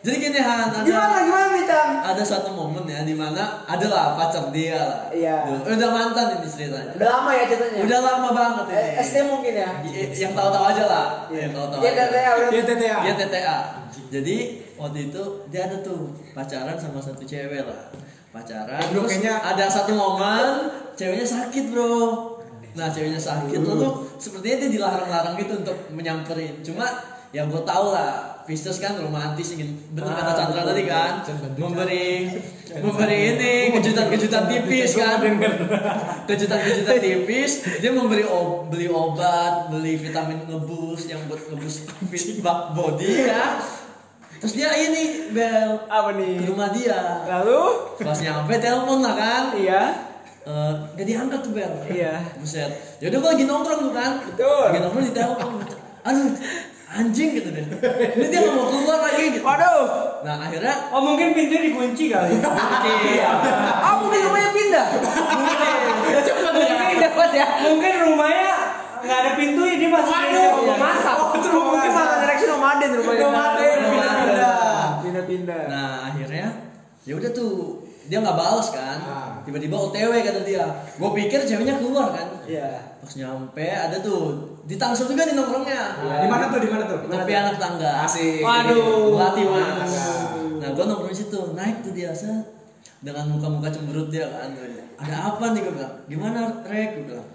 jadi gini Han, ada-
Eh, Gimana gimana nih, Chan?
ada suatu momen ya dimana adalah pacar dia lah.
Iya.
Duh, Udah mantan ini ceritanya.
Udah lama ya ceritanya?
Udah lama banget ini.
Eh, SD mungkin ya?
Y- yang tahu-tahu aja lah. Yang tahu-tahu.
Iya,
aja.
TTA
Ah.
udah.
Iya, TTA.
Dia TTA. Jadi waktu itu dia ada tuh pacaran sama satu cewek lah. Pacaran.
Bro,
terus
kayaknya-
ada satu momen ceweknya sakit, Bro. Nah, ceweknya sakit
Uh.
lalu sepertinya dia dilarang-larang gitu untuk menyamperin. Cuma yang gue tau lah, Pisces kan romantis ingin bener
Ah,
kata Chandra tadi kan memberi memberi ini kejutan-kejutan tipis kan kejutan-kejutan tipis dia memberi ob- beli obat beli vitamin ngebus yang buat ngebus fit bak- body ya terus dia ini bel
Apa
ke
nih?
rumah dia
Lalu?
pas nyampe telepon lah kan
Iya.
eh, gak diangkat tuh Ben
Iya.
buset yaudah gue lagi nongkrong tuh kan
Betul.
lagi nongkrong di telepon aduh anjing gitu deh ini dia nggak mau keluar lagi gitu
Waduh.
nah akhirnya
Oh mungkin pintunya
(laughs)
dikunci kali.
Ah, mungkin rumahnya pindah. Cepat pindah mas ya.
mungkin rumahnya nggak ada pintunya dia masuk Iya, ke
Aduh,
rumah
masak.
masak.
Oh, mungkin malah direksi nomaden
Iya.
rumahnya.
Nomaden, pindah-pindah.
Iya. Pindah-pindah.
Nah akhirnya ya udah tuh dia nggak balas kan,
Ah.
tiba-tiba OTW kata dia. Gue pikir ceweknya keluar kan.
Iya.
Pas nyampe ada tuh di Tangsel juga di nongkrongnya.
Iya,
Iya, Di mana tuh? Di mana tuh? Di mana
Tapi
tuh?
anak tangga.
Asik.
Waduh.
Melati mas.
Tangga.
Nah gue nongkrong di situ naik tuh dia set dengan muka-muka cemberut dia kan. Ada apa nih gue bilang? Gimana rek? Gue bilang.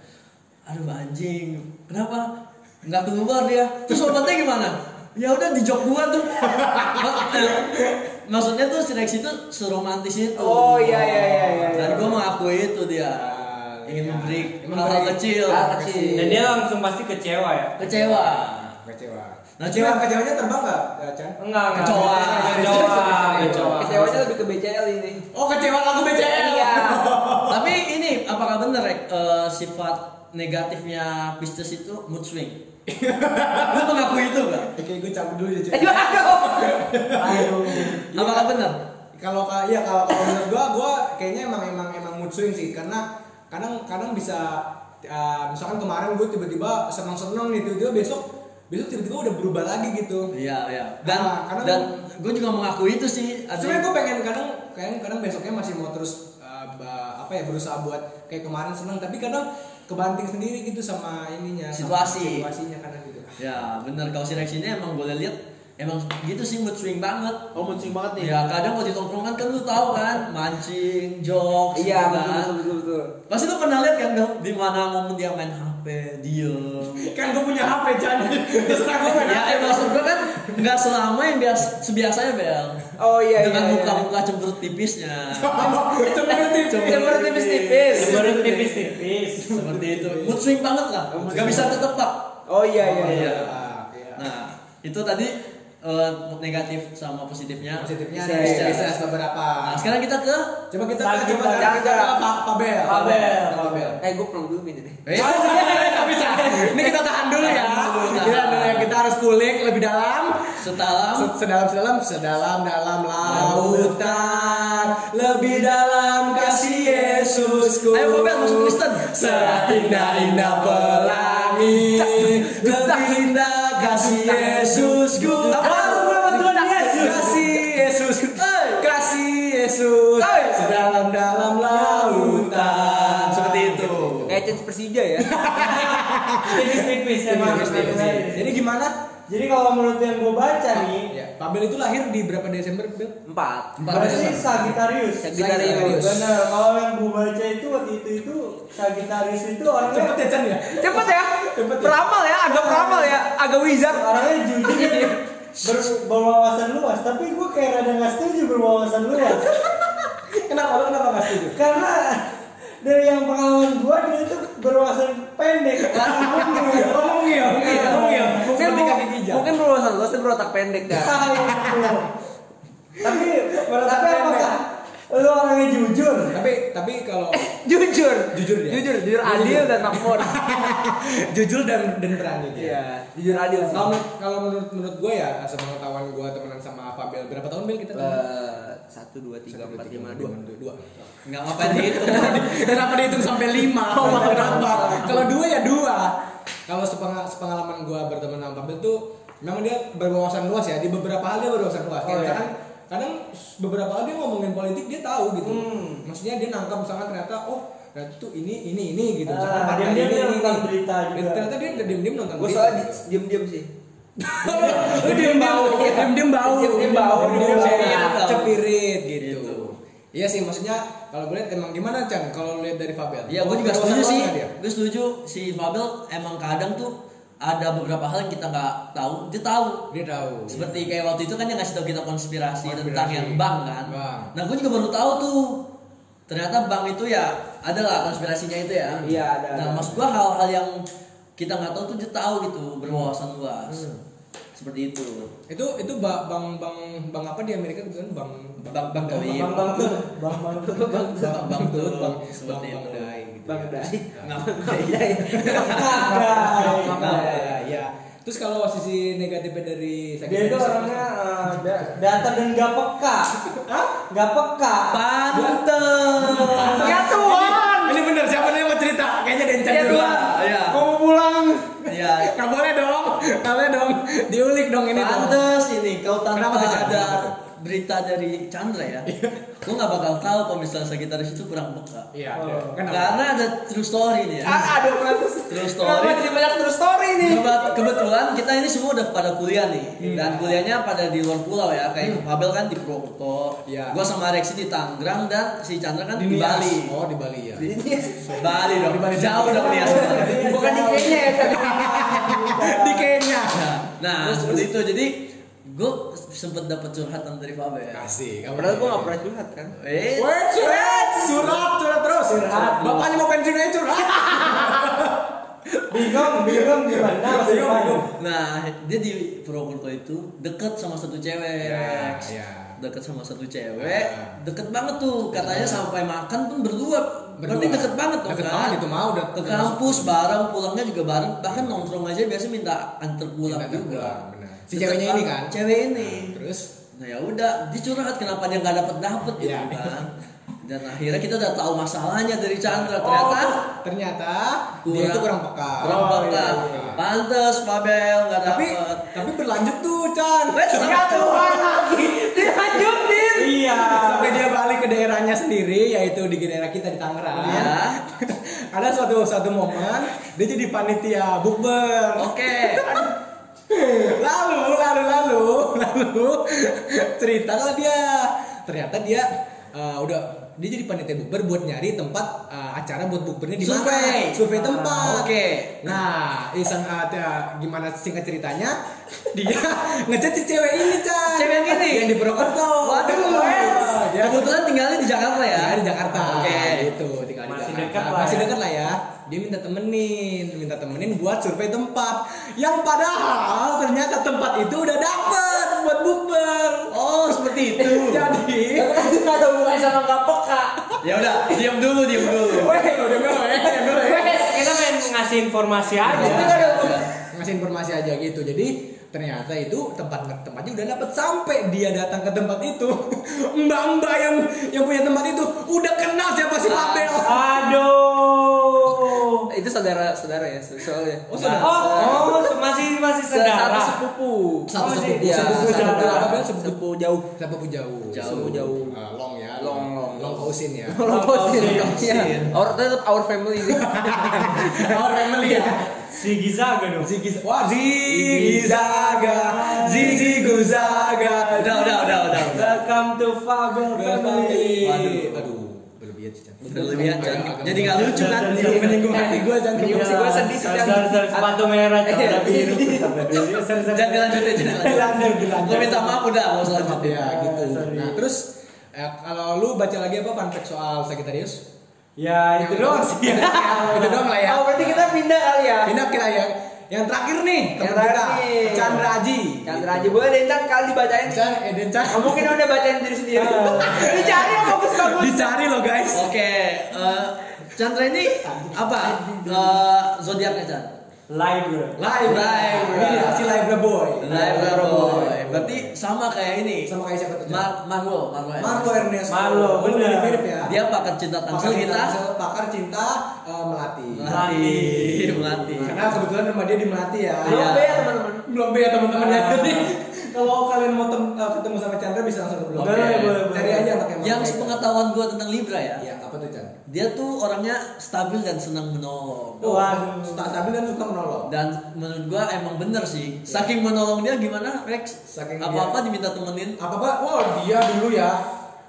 Aduh anjing. Kenapa? Nggak keluar dia. Terus obatnya gimana? Ya udah di jok gua tuh. (laughs) Ma- eh, Maksudnya tuh si Rex itu seromantis itu.
Oh, iya, iya, iya, iya,
Dan
iya.
gue mengakui itu dia.
Ah,
Ingin
iya.
memberi
Memberi.
hal-hal kecil.
Hal kecil.
Dan dia langsung pasti kecewa ya.
Kecewa.
Kecewa.
Nah,
Kecewa,
cuma-
kecewanya terbang nggak? Nggak, Chan?
Enggak, enggak.
Kecoa.
Kecoa. Kecoa.
Iya. Kecewanya lebih ke BCL ini.
Oh kecewa lagu BCL.
Iya.
Tapi ini apakah benar Rek Eh, sifat negatifnya Pisces itu mood swing? Lu mengakui itu nggak?
Oke, gue cabut dulu ya.
Eh,
Chan.
Aduh, aduh.
Apakah benar?
Kalau ka- iya kalau kalau menurut gua gua kayaknya emang emang emang mood swing sih karena kadang kadang bisa uh, misalkan kemarin gue tiba-tiba seneng-seneng nih tiba-tiba besok besok tiba-tiba udah berubah lagi gitu.
Iya, iya. Dan
Ah, karena
dan gue juga mengakui itu sih. Adi.
Sebenarnya gue pengen kadang kadang kadang besoknya masih mau terus uh, ba- apa ya berusaha buat kayak kemarin seneng tapi kadang kebanting sendiri gitu sama ininya sama
Situasi.
situasinya kadang gitu.
Ya, benar kalau si Rex ini emang boleh lihat emang gitu sih mood swing banget.
Oh mencing banget nih.
Ya kadang kalau di tongkrongan kan lu tahu kan mancing, jokes,
Iya,
gitu
betul,
kan.
betul, betul, betul.
Pasti lu pernah lihat kan Bel? di mana momen dia main HP, diem,
Kan gue punya HP Chan. Terserah gue main
ya eh, maksud gue kan nggak selama yang biasa sebiasanya bel
Oh iya, iya,
dengan
iya.
muka-muka cemberut tipisnya Iya,
Cemberut tipis.
Cemberut tipis-tipis.
Cemberut tipis-tipis.
seperti itu mood swing banget lah nggak bisa ketebak
Oh iya, iya, iya.
Ah, iya.
nah itu tadi eh, negatif sama positifnya
positifnya
Bisa,
ada
bisa.
bisa beberapa
nah sekarang kita ke
coba kita coba
Saat kita-
kita kita
kita-
Pak Pabel
Pabel,
Pabel
Eh, gue pernah dulu ini.
Eh, (laughs)
bisa ini kita tahan dulu ya
Tahan dulu, tahan.
kita kita harus kulik lebih dalam
setelah
Se- sedalam sedalam sedalam dalam lautan lebih dalam kasih Yesusku
Ayo, Pabel, masuk Kristen.
seindah indah pelangi lebih indah kasih Yesusku
Apa?
Apa?
Tuhan Yesus.
kasih Yesus kasih Yesus
Hey.
sedalam dalam lautan
seperti itu
Kayak Chance Persija ya.
Tipis-tipis emang.
jadi gimana
Jadi kalau menurut yang gue baca nih,
ya, Pabel itu lahir di berapa Desember Bel?
Empat.
Empat
berarti
Desember.
Sagitarius.
Sagittarius.
Bener, kalau yang gue baca itu waktu itu itu Sagitarius itu orangnya
cepet ya Chan ya
Cepet ya. Peramal ya, agak peramal ya, agak wizard.
orangnya
(laughs)
jujur gitu. Ber, berwawasan luas, tapi gue kayak rada nggak setuju berwawasan luas.
kenapa lu kenapa nggak setuju
Karena dari yang pengalaman gue dia itu berwawasan pendek.
ngomong ya ngomong ya
Mungkin
seperti kaki kijang
mungkin berwawasan luas dan berotak pendek (laughs) kan.
Tahu. tapi tapi apakah lu orangnya jujur?
tapi tapi (laughs) kalau
Jujur.
Jujur dia.
Jujur, jujur Iya. adil dan (laughs) makmur.
jujur dan dan berani dia
Iya, jujur adil sih.
Kalau menurut- kalau menurut menurut gue ya sepengetahuan gue temenan sama Fabel berapa tahun Bel kita?
Eh, Satu, dua, tiga,
Satu,
empat,
tiga,
lima,
dua,
dua.
dua.
nggak ngapain gitu
Kenapa dihitung sampai lima?
Oh,
Kenapa? Kalau dua ya dua. Kalau sepenga- sepengalaman gue berteman sama Fabel tuh memang dia berwawasan luas ya di beberapa hal dia berwawasan luas. Kayak
Oh, iya.
misalkan kadang beberapa hal dia ngomongin politik dia tahu gitu.
Hmm.
Maksudnya dia nangkap misalkan ternyata oh ternyata tuh ini ini ini gitu. Misalkan
Ah,
partai
diam-diam
ini,
dia
ini,
nonton
ini.
berita
Dan
juga.
Ternyata dia udah diem-diem nonton
Gue
berita.
soalnya di- diem-diem (laughs) sih.
Lu diem bau, diem diem bau,
Diem-diem bau,
diem
diem-diem
bau.
cepirit gitu.
Gitu.
Iya sih, maksudnya kalau gue lihat emang gimana Chan kalau lu lihat dari Fabel?
Iya, gue juga
Berwawasan
setuju
luas
sih.
nggak dia?
Gue setuju si Fabel emang kadang tuh ada beberapa hal yang kita nggak tahu, dia tahu.
Dia tahu.
Seperti kayak waktu itu kan yang ngasih tahu kita konspirasi,
Konspirasi.
tentang yang bank kan.
Bank.
Nah, gue juga baru tahu tuh. Ternyata bank itu ya adalah konspirasinya itu ya.
Iya, ada,
Nah,
ada. Hmm.
maksud gue hal-hal yang kita nggak tahu tuh dia tahu gitu, berwawasan luas. seperti itu
Hmm. itu itu ba- bang bang bang apa di Amerika kebetulan bang
bang bang dari
Bang Bang Tut. Bang Bang Tut.
bang bang bang Tut, bang bang
Seperti
bang
itu.
Dai gitu
Bang
ya.
Dai. (laughs)
Bang Dai, ya terus kalau sisi negatifnya dari sakit
Dia itu
hati,
orangnya eh, da- datar dan gak peka. Hah? Gak peka.
Pantes.
Ya Tuhan.
Ah,
Ini bener siapa nih yang mau cerita? Kayaknya Dencan
Iya,
dulu.
dua.
Iya.
Gua mau pulang.
Iya.
Gak boleh dong. Gak boleh dong.
diulik dong ini dong
Pantes ini kau tanpa
Kenapa tuh, Chandra?
ada berita dari Chandra ya. Lu nggak bakal tahu kalau misalnya Sagittarius itu kurang peka.
iya
Oh.
kenapa
Karena ada true story nih ya.
Ah, Aduh, terus
True
Kenapa
story.
jadi banyak terus story nih?
Kebet- kebetulan kita ini semua udah pada kuliah nih
Iya.
dan kuliahnya pada di luar pulau ya kayak Fabel kan di Purwokerto,
Hmm. Iya.
gua sama Rexi di Tangerang dan si Chandra kan di,
Nias.
Bali.
oh di Bali ya
Bali dong, jauh dong Nias.
Iya,
Bukan di kayaknya ya tadi. (laughs)
di Kenya
Nah, nah seperti itu jadi gue sempet dapet curhatan dari Fabel. ya.
kasih
Padahal gue gak pernah curhat kan.
Eh,
Word, surat, surat, surat terus.
Curhat.
Bapaknya mau pensiun aja curhat.
Bingung, bingung gimana masa
Bingung,
depan.
bingung.
Nah, dia di Purwokerto itu deket sama satu cewek.
Ya,
Rex.
ya.
Deket sama satu cewek,
Ya.
deket banget tuh. Katanya sampai makan pun berdua.
Berdua.
Berarti deket banget dong
Deket
kan?
banget itu mau udah
Ke kampus bareng, pulangnya juga bareng. Bahkan nongkrong aja biasa minta antar pulang
Minta antar
juga.
pulang, benar. Si
Deket
ceweknya ini
banget.
kan?
Cewek ini.
Terus
Nah ya udah, dia curhat kenapa dia nggak dapet dapet gitu
Iya.
kan? Dan akhirnya kita udah tahu masalahnya dari Chandra. Ternyata
ternyata Oh. dia itu kurang peka.
Kurang
Oh,
peka.
iya,
iya.
Pantes Fabel nggak
Tapi
dapet.
tapi berlanjut tuh, Chan.
Wes,
Ya Tuhan lagi. Dilanjutin.
Iya.
Sampai dia balik ke daerahnya sendiri, yaitu di daerah kita di Tangerang.
Iya.
(laughs) Ada suatu suatu momen dia jadi panitia bukber.
Oke.
lalu lalu lalu (laughs) lalu ceritalah dia ternyata dia eh, udah dia jadi panitia bukber buat nyari tempat eh, acara buat bukbernya di mana.
Survei. Ah,
survei tempat
Oke.
nah iseng ada gimana singkat ceritanya dia (laughs) ngechat si cewek ini Chan
Cewek yang ini?
yang di Purwokerto
Waduh,
Yes.
Wes. kebetulan tinggalnya di Jakarta ya.
Ya, di Jakarta.
Oke.
Gitu, tinggal
Masih
di Jakarta.
dekat lah
Masih
ya.
dekat lah ya. Dia minta temenin, minta temenin buat survei tempat. Yang padahal ternyata tempat itu udah dapet buat bukber.
Oh, seperti itu.
(laughs) Jadi,
Kan itu gak ada hubungannya sama gak peka.
ya udah, diam dulu, diam dulu.
weh, udah gue,
Wes,
Kita pengen ngasih informasi aja.
Itu gak ada
ngasih informasi aja gitu. Jadi ternyata itu tempat tempatnya udah dapet sampai dia datang ke tempat itu (laughs) mbak-mbak yang yang punya tempat itu udah kenal siapa si Mabel
Aduh.
Itu saudara-saudara ya soalnya. Nah.
Oh, saudara.
Oh, oh, masih masih
Satu
saudara.
sepupu.
satu
Oh,
sepupu
iya,
sepupu
satu
saudara
Ah,
saudara.
Mabel sepupu
Sepupu jauh.
Siapa jauh?
Jauh,
jauh.
Ah, long ya.
Long, long.
Long ocean
(laughs)
ya.
Kalau
Pausin.
posin, Our tetap our (laughs) family sih.
Our family ya.
Si Gizaga dong.
Zigis. Wah, zigizaga. Zigiguzaga.
Udah, udah, udah, udah. udah.
Welcome to Fabel Family.
Waduh, aduh, berlebihan sih. Chan.
Berlebihan, Chan.
Agak- agak-
Jadi nggak lucu kan?
Iya,
Jadi menyinggung hati gue jangan
Menyinggung
menyinggung
sih gua sedih sih,
Dasar- dasar sepatu merah celana biru. Sorry, sorry.
Iya.
Jangan dilanjutin, jangan
Dilanjut,
dilanjutin.
dilanjut.
Gue minta maaf udah, nggak usah lanjutin.
ya gitu.
Sorry.
Nah, terus eh, kalau lu baca lagi apa fun fact soal Sagittarius?
Ya itu doang sih.
(laughs) Itu doang lah ya.
Oh, berarti kita pindah kali ya.
Pindah kita ya. Yang terakhir nih,
Yang
teman kita,
terakhir nih.
Chandra Aji.
Chandra aja boleh deh ntar kali bacain. Ah.
Chan, Eden Chan.
Oh, mungkin udah bacain diri sendiri. Dicari yang bagus-bagus.
Dicari loh guys.
Oke, eh, Chandra ini apa? Eh, zodiaknya Chandra?
Libra.
Libra,
Libra.
Ini si Libra boy.
Libra boy. Berarti sama kayak ini.
Sama kayak siapa tuh? Chan?
Mar Marlo, Marlo. Evans.
Marco Ernesto.
Marlo,
Oh,
bener.
Mirip ya.
Dia pakar cinta
pakar
tangsel
cinta,
kita.
Tangsel, pakar cinta eh, melati.
Melati, melati.
Iya. Karena kebetulan rumah dia di melati ya.
Belum
Iya.
ya teman-teman.
Belum B ya teman-teman ya.
Ah.
(laughs) Jadi kalau kalian mau tem- eh, ketemu sama Chandra bisa langsung ke blog. Iya,
Boleh, boleh, boleh.
Cari aja anaknya.
Yang sepengetahuan gue tentang Libra ya,
Ya, apa tuh Chan?
dia tuh orangnya stabil dan senang menolong.
Oh,
Waduh.
stabil dan suka menolong.
Dan menurut gue emang bener sih. Saking menolong dia gimana, Rex?
Saking
Apa-apa diminta temenin.
apa apa wow dia dulu ya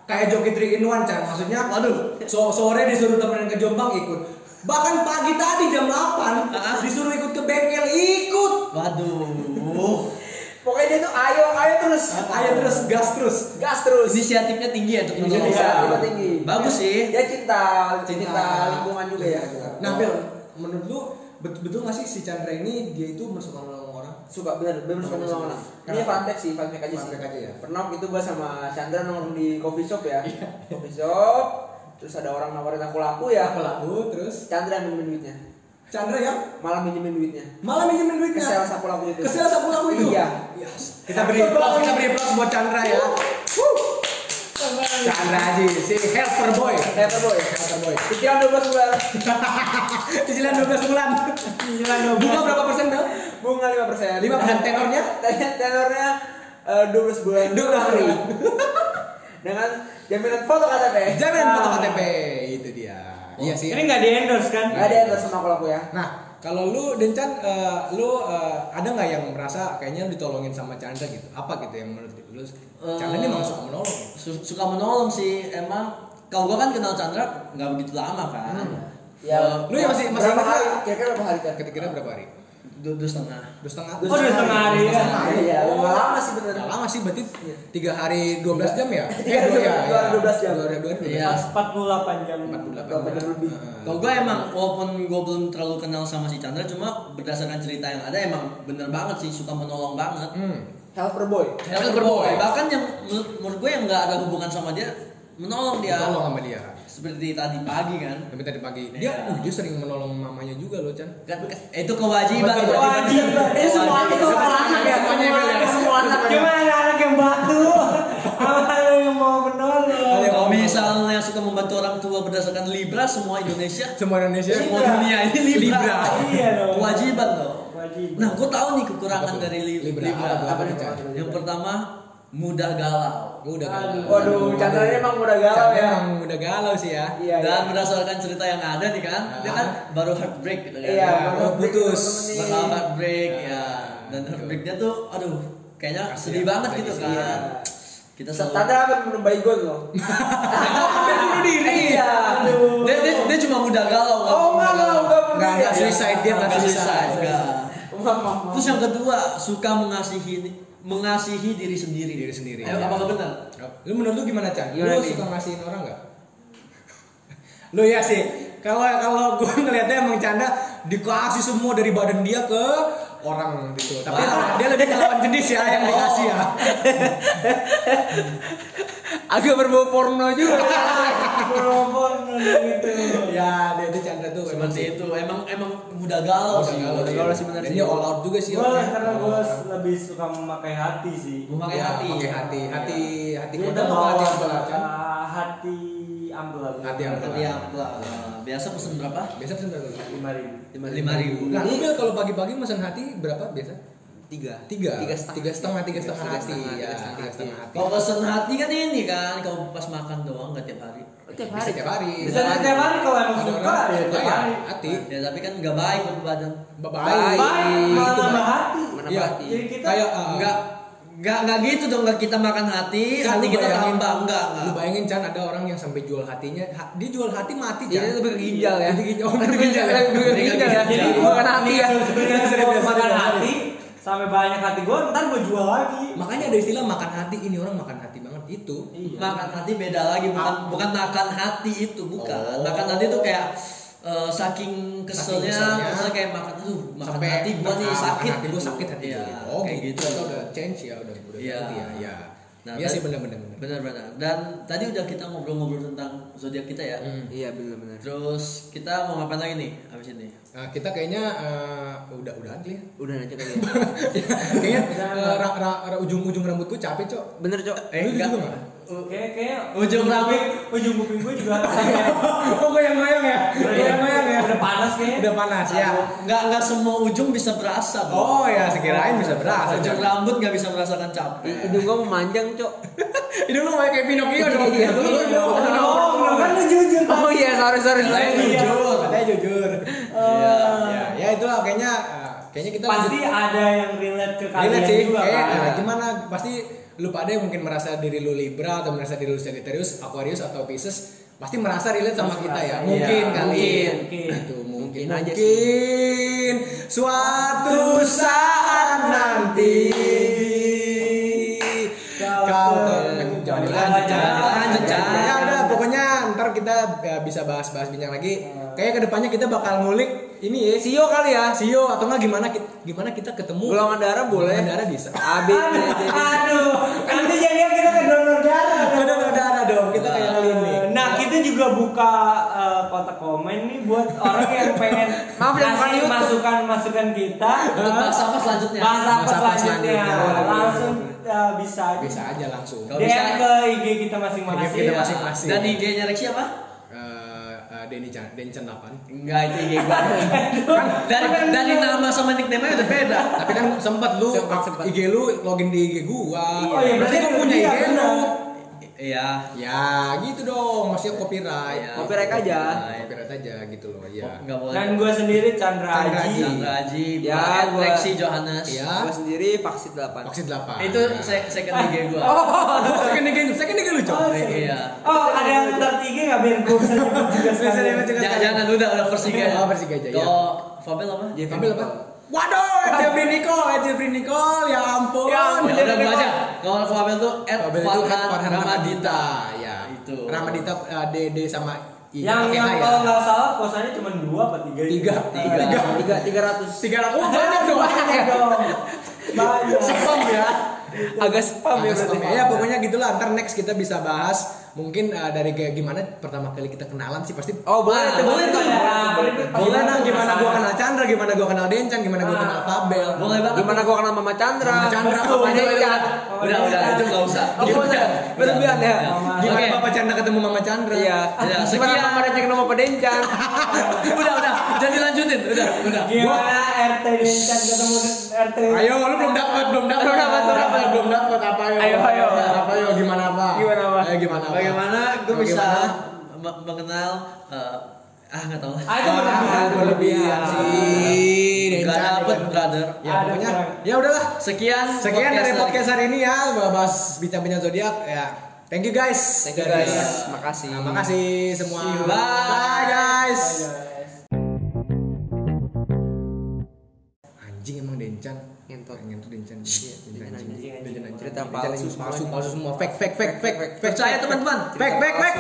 kayak joki trik in one Chan. maksudnya
Waduh.
so sore disuruh temenin ke Jombang ikut bahkan pagi tadi jam 8
Ah.
disuruh ikut ke bengkel ikut
Waduh,
Pokoknya dia tuh ayo ayo terus.
ayo terus gas terus
Gas terus.
inisiatifnya tinggi ya untuk menolong.
Inisiatif
Inisiatifnya
tinggi. Iya.
Bagus sih.
Dia cinta
Cinta.
cinta lingkungan juga ya.
nah Bel menurut lu bet- betul nggak sih si Chandra ini dia itu suka menolong orang
suka bener bener suka nolong orang ini fun fact sih fun fact aja
Nah. Fun
sih
fact aja ya? Iya.
pernah waktu itu gua sama Chandra nongkrong di coffee shop ya coffee shop terus ada orang nawarin aku laku
Aku
ya
laku terus
Chandra minjemin duitnya
Chandra yang
malah minjemin duitnya
malah minjemin duitnya.
kesel sapu laku itu
Iya. Kesel sapu laku itu.
Iya.
Yes.
Kita beri aplaus, kita beri aplaus buat Chandra ya. Chandra Aji, si helper boy.
Hater boy
Kata boy.
pikiran 12 bulan
Cicilan 12 bulan.
Cicilan 12.
Bunga berapa persen, Bel?
bunga 5 persen
5%. Tenornya?
tenornya eh, 12 bulan
12
Free.
bulan.
(laughs) dengan jaminan foto KTP
Jangan foto KTP, itu dia. Iya sih.
Ini nggak di endorse kan?
nggak ada yang terus sama aku laku ya
Nah, kalau lu Dencan, eh, lu eh, ada nggak yang merasa kayaknya ditolongin sama Chandra gitu? Apa gitu yang menurut lu? Chandra ini
Eh,
emang suka menolong. ya?
Su- suka menolong sih emang kalau gua kan kenal Chandra nggak begitu lama kan
Iya.
Eh,
lu yang masih- masih
berapa
ingat
hari
nggak?
kira-kira berapa hari kan
Kira-kira berapa hari?
dua dua setengah
Dua setengah.
Oh, dua setengah hari,
Dua setengah
Iya,
hari.
iya,
Oh,
lumayan lama sih bener.
nggak lama sih, berarti tiga hari 12 jam ya?
Iya. Tiga hari
dua-
dua-
iya,
dua hari
iya.
12 jam.
Dua hari 12 jam. Hmm.
Iya.
48 jam.
48
jam lebih.
Kalau gue emang walaupun gue belum terlalu kenal sama si Chandra, cuma berdasarkan cerita yang ada emang bener banget sih suka menolong banget.
Hmm.
helper boy
Helper boy. Bahkan yang menurut, menurut gue yang nggak ada hubungan sama dia menolong dia.
Tolong sama dia.
Seperti tadi pagi kan.
Tapi tadi pagi dia,
Iya.
uh, dia sering menolong mamanya juga loh, Chan.
Kan ke- itu
Iya,
kewajiban.
Kewajiban.
Ini semua
Kewajiban.
itu semua anak ya,
Semuanya
semua anak,
ya.
semua anak.
Cuma anak yang batu, apa yang mau menolong?
Kalau misalnya suka membantu orang tua berdasarkan Libra semua Indonesia,
Semua Indonesia.
semua
Iya.
dunia ini Libra.
Libra.
Iya dong.
Kewajiban loh.
Wajib.
Nah, gue tahu nih kekurangan
Apa tuh?
dari li-
Libra.
Libra.
Apa tuh, Chan?
Yang pertama, mudah galau.
Gua udah galau.
Waduh, Chandra ini emang udah galau
Chandra
ya.
emang udah galau sih ya.
Iya,
Dan
iya.
berdasarkan cerita yang ada nih kan, dia kan
Iya.
baru heartbreak gitu kan.
Iya,
baru putus.
temen-temen nih.
Bakal heartbreak ya.
Iya.
Dan
Betul.
heartbreaknya tuh, aduh, kayaknya
Kasian,
sedih banget
sedih
gitu
sih,
kan.
Iya.
Kita selalu.
Chandra hampir bunuh baygon (laughs) loh. Hampir bunuh diri. Iya.
Dia, dia, dia cuma mudah galau. kan. nggak
Oh,
mudah
enggak enggak
galau.
enggak bunuh
Enggak enggak
diri.
suicide dia Oh, enggak
Nggak
suicide.
suicide, nggak.
Maaf, maaf, maaf.
Terus yang kedua, suka mengasihi mengasihi diri sendiri.
Diri sendiri.
Ayo,
Iya.
apakah benar?
Lu menurut lu gimana, Chan?
Gimana
Lu
nih?
suka ngasihin orang enggak? (laughs) lu ya sih. Kalau kalau gua ngelihatnya emang Chandra dikasih semua dari badan dia ke orang gitu. Tapi
Wah.
dia lebih ke lawan jenis ya yang dikasih ya.
Agak berbau porno juga.
Telepon gitu.
(laughs) Ya, dia itu Chandra tuh emang
Seperti
sih.
itu, emang emang mudah galau kan sih.
Galau
Mudah
Oh, sih.
galau sih benar
Dan
sih.
dia all out juga sih.
Gue
orangnya.
karena gue lebih suka memakai hati sih.
Memakai
Ya,
hati.
Pakai hati, hati, hati
Dia
kuda atau
bawa
hati ambulan, Chan?
ah, hati ambulan.
Hati ambulan.
Hati ampla. Biasa pesen berapa?
Biasa pesen berapa?
Lima ribu.
Lima ribu.
Nah, lu Bel, kalau pagi-pagi mesen hati berapa biasa?
Tiga.
Tiga.
Tiga setengah.
Tiga setengah, tiga setengah
Tiga
hati. Ya,
setengah, tiga setengah
tiga setengah
hati.
hati.
Oh,
Kalau pesen hati kan ini kan, kalau pas makan doang nggak tiap hari.
Tiap
Bisa tiap hari.
Bisa tiap hari kalau emang
Iya. Ada
suka
orang
ya
suka
tiap
ya,
hari.
hati.
Ya tapi kan nggak baik buat badan.
Bye-bye.
Baik, malah nambah hati.
Mana
Iya.
mati?
Jadi kita
Kayak ah,
Nggak nggak nggak gitu dong nggak kita makan hati,
Chan,
hati
lu
kita
bayangin-
tambah enggak
Lu
enggak.
bayangin Chan ada orang yang sampai jual hatinya, ha- dia jual hati mati Chan.
Jadi Iya, (laughs) lebih ke ginjal ya.
Itu ginjal. Oh,
Itu
itu ginjal. ya?
lebih ke ginjal ya.
Jadi
Jadi bukan hati ya.
Sebenarnya
Serius,
gua
serius,
makan
serius.
hati sampai banyak hati gue, ntar gue jual lagi.
Makanya ada istilah makan hati, ini orang makan hati banget itu.
Makan hati beda lagi bukan bukan makan hati itu bukan.
Ah. Oh.
Makan hati itu kayak eh, saking keselnya,
keselnya.
kesel kayak makan tuh makan
Sampai
hati gua nih
ah, makan
sakit.
Hati gua sakit hati
Iya,
gua. Oh,
kayak
gitu.
gitu.
Ternyata udah change ya, udah udah
Iya.
ganti ya. Iya.
Nah,
Iya sih
tadi-
benar-benar.
Benar-benar. Dan tadi udah kita ngobrol-ngobrol tentang zodiak kita ya.
Hmm.
Iya, benar-benar.
Terus kita mau ngapain lagi nih abis ini?
Nah, kita kayaknya eh, udah-udahan kali ya. (laughs)
Udah aja kali ya.
Kayaknya eh, ra- ra- ra- ujung-ujung rambut gua capek, Cok.
Bener, Cok.
Eh,
Eh,
enggak.
enggak. (laughs)
Juga,
Oke, kayaknya
Ujung rambut.
ujung kuping gue juga goyang-goyang
oh, goyang-goyang ya. Goyang-goyang ya.
Udah panas kayaknya.
Udah panas ya.
Enggak enggak semua ujung bisa berasa. Bro.
Oh ya, sekirain bisa berasa.
Ujung
Cok.
rambut nggak bisa merasakan capek.
Hidung gua memanjang, Cok.
Hidung lu kayak Pinocchio dong.
Iya,
Lu- lu-
iya.
lu- lu-
Oh, belum kan Iya. lu jujur
Oh iya, sorry, sorry,
Katanya
sorry.
jujur,
Eh,
katanya jujur.
Iya.
Ya, ya itulah kayaknya eh, kayaknya kita
Pasti ada yang relate ke kalian
relate sih.
juga
Kayak eh,
kan.
gimana pasti lu pada yang mungkin merasa diri lu Libra atau merasa diri lu Sagittarius, Aquarius atau Pisces pasti merasa relate sama
Pasti
kita ya.
merasa,
Mungkin
iya.
kali.
Mungkin, mungkin.
Itu mungkin,
Mungkin aja sih.
mungkin suatu saat nanti kau
Kau
ter-
ter-
jangan
Jangan
dilanjut, jangan
dilanjut,
dilanjut.
jangan.
Ya udah pokoknya ntar kita kita eh, bisa bahas-bahas bincang lagi.
Hmm.
Kayaknya kedepannya kita bakal ngulik ini ya.
Sio kali ya.
Sio atau enggak gimana kita, gimana kita ketemu?
Golongan darah boleh.
Golongan darah
(laughs)
bisa.
AB,
Aduh,
BC.
aduh, nanti jadinya kita ke donor darah. dong.
Golongan darah dong. Kita kayak kali ini.
Nah, kita juga buka eh, kotak komen nih buat orang yang pengen
Maaf, yang bukan
kasih
YouTube.
masukan-masukan kita. Eh,
Untuk bahas apa selanjutnya?
Bahas apa
Bahas apa
selanjutnya?
selanjutnya?
Nah, Langsung eh, bisa,
Bisa aja langsung. Eh,
Kalau
DM
bisa-
ke IG eh, kita masing-masing.
Kita
Iya.
masing-masing.
Dan IG-nya Rexy apa?
Eh, eh, Denny Chan, Denny Chan 8.
Enggak, itu IG gua. Kan dari dari nama sama nickname-nya udah beda.
Tapi kan sempet lu
Sempet, sempet.
IG lu login di IG gua.
Oh iya, berarti
lu
kan
punya
iya,
IG lu.
benar.
I- Iya.
Ya, gitu dong. Masih copyright.
Iya.
Copyright aja.
Copyright aja gitu loh, ya.
Enggak boleh.
Dan gue sendiri Chandra
Chandra
Aji.
Aji.
Chandra Aji,
Ya,
Brian,
gua-
Rexy Johannes.
Iya.
Gue sendiri vaksin 8.
Vaksin 8.
Itu se- second IG gua.
second again, Oh. second again lu
Oh,
coba.
Iya.
Oh, ada yang tertinggi nggak biar gue bisa nyebut juga sekalian.
Jangan jangan udah udah first IG.
Oh, first IG aja, iya.
Kalau Fabel apa?
Iya.
Ambil apa? Waduh, Jeffrey Nicole, eh, Jeffrey Nicole, ya ampun.
Ya
Ya
ampun,
udah Oh, gua aja. Kalau Fabel tuh
Fabel itu kan Farhan
@farhan
Ramadita,
Ramadita.
ya.
Itu.
Ramadita eh, DD sama I.
Yang
pakai
yang
H, ya.
kalau nggak salah kosannya cuma dua apa tiga? gitu.
Tiga, tiga.
Tiga, tiga, tiga ratus.
Tiga ratus. Oh, banyak dong.
Banyak dong. Banyak.
Spam ya.
Agak spam ya
Agak spam
berarti.
ya. Ya, pokoknya gitulah. Ntar next kita bisa bahas mungkin eh, dari kayak gimana pertama kali kita kenalan sih pasti
Oh boleh,
Ah,
tuh, boleh
boleh
tuh.
tuh.
gimana
Gimana-
gimana gua kenal Chandra, gimana gua kenal Dencan, gimana gua
Ah.
kenal Fabel.
Boleh banget.
Gimana gua kenal Mama Chandra?
Mama Chandra,
Mama
Mama
Deca.
Deca.
Udah, udah, itu nggak usah.
Oh, nggak usah. Berlebihan ya.
Gimana
Oke.
Papa Chandra ketemu Mama Chandra?
Iya.
Ya,
Gimana
sekian.
Mama Deca kenal Mama (laughs) Dencan?
udah udah jangan dilanjutin udah udah
Gimana RT Dencan ketemu RT?
Ayo, lu belum dapat, belum dapat,
Belum dapat, belum dapat.
belum dapat apa yo?
Ayo, ayo.
apa yo? Gimana apa?
Eh, Gimana, apa?
Ayo, gimana apa?
bagaimana gue bisa
Bagaimana?
me- mengenal eh, ah nggak tahu lah
Ah, itu
Ah,
berlebihan.
berlebihan sih.
nggak
Dencan,
dapet
Dencan.
brother
Ya
Ada
pokoknya,
perang.
ya udahlah.
sekian
Sekian dari
podcast
podcast hari ini ya, bahas bincang-bincang zodiak ya. Thank you guys.
Thank you,
Dari-
guys. Makasih.
Nah, makasih semua.
See you.
Bye guys.
Ayo.
Anjing emang Dencan.
Ngentot.
Pengen tuh Dencan. Iya, Dencan anjing.
Dencan anjing.
Dencan anjing.
Cerita
Dencan anjing.
palsu
palsu, palsu semua. Fake, fake, fake, fake, fake.
Percaya, teman-teman.
Fake, fake, fake.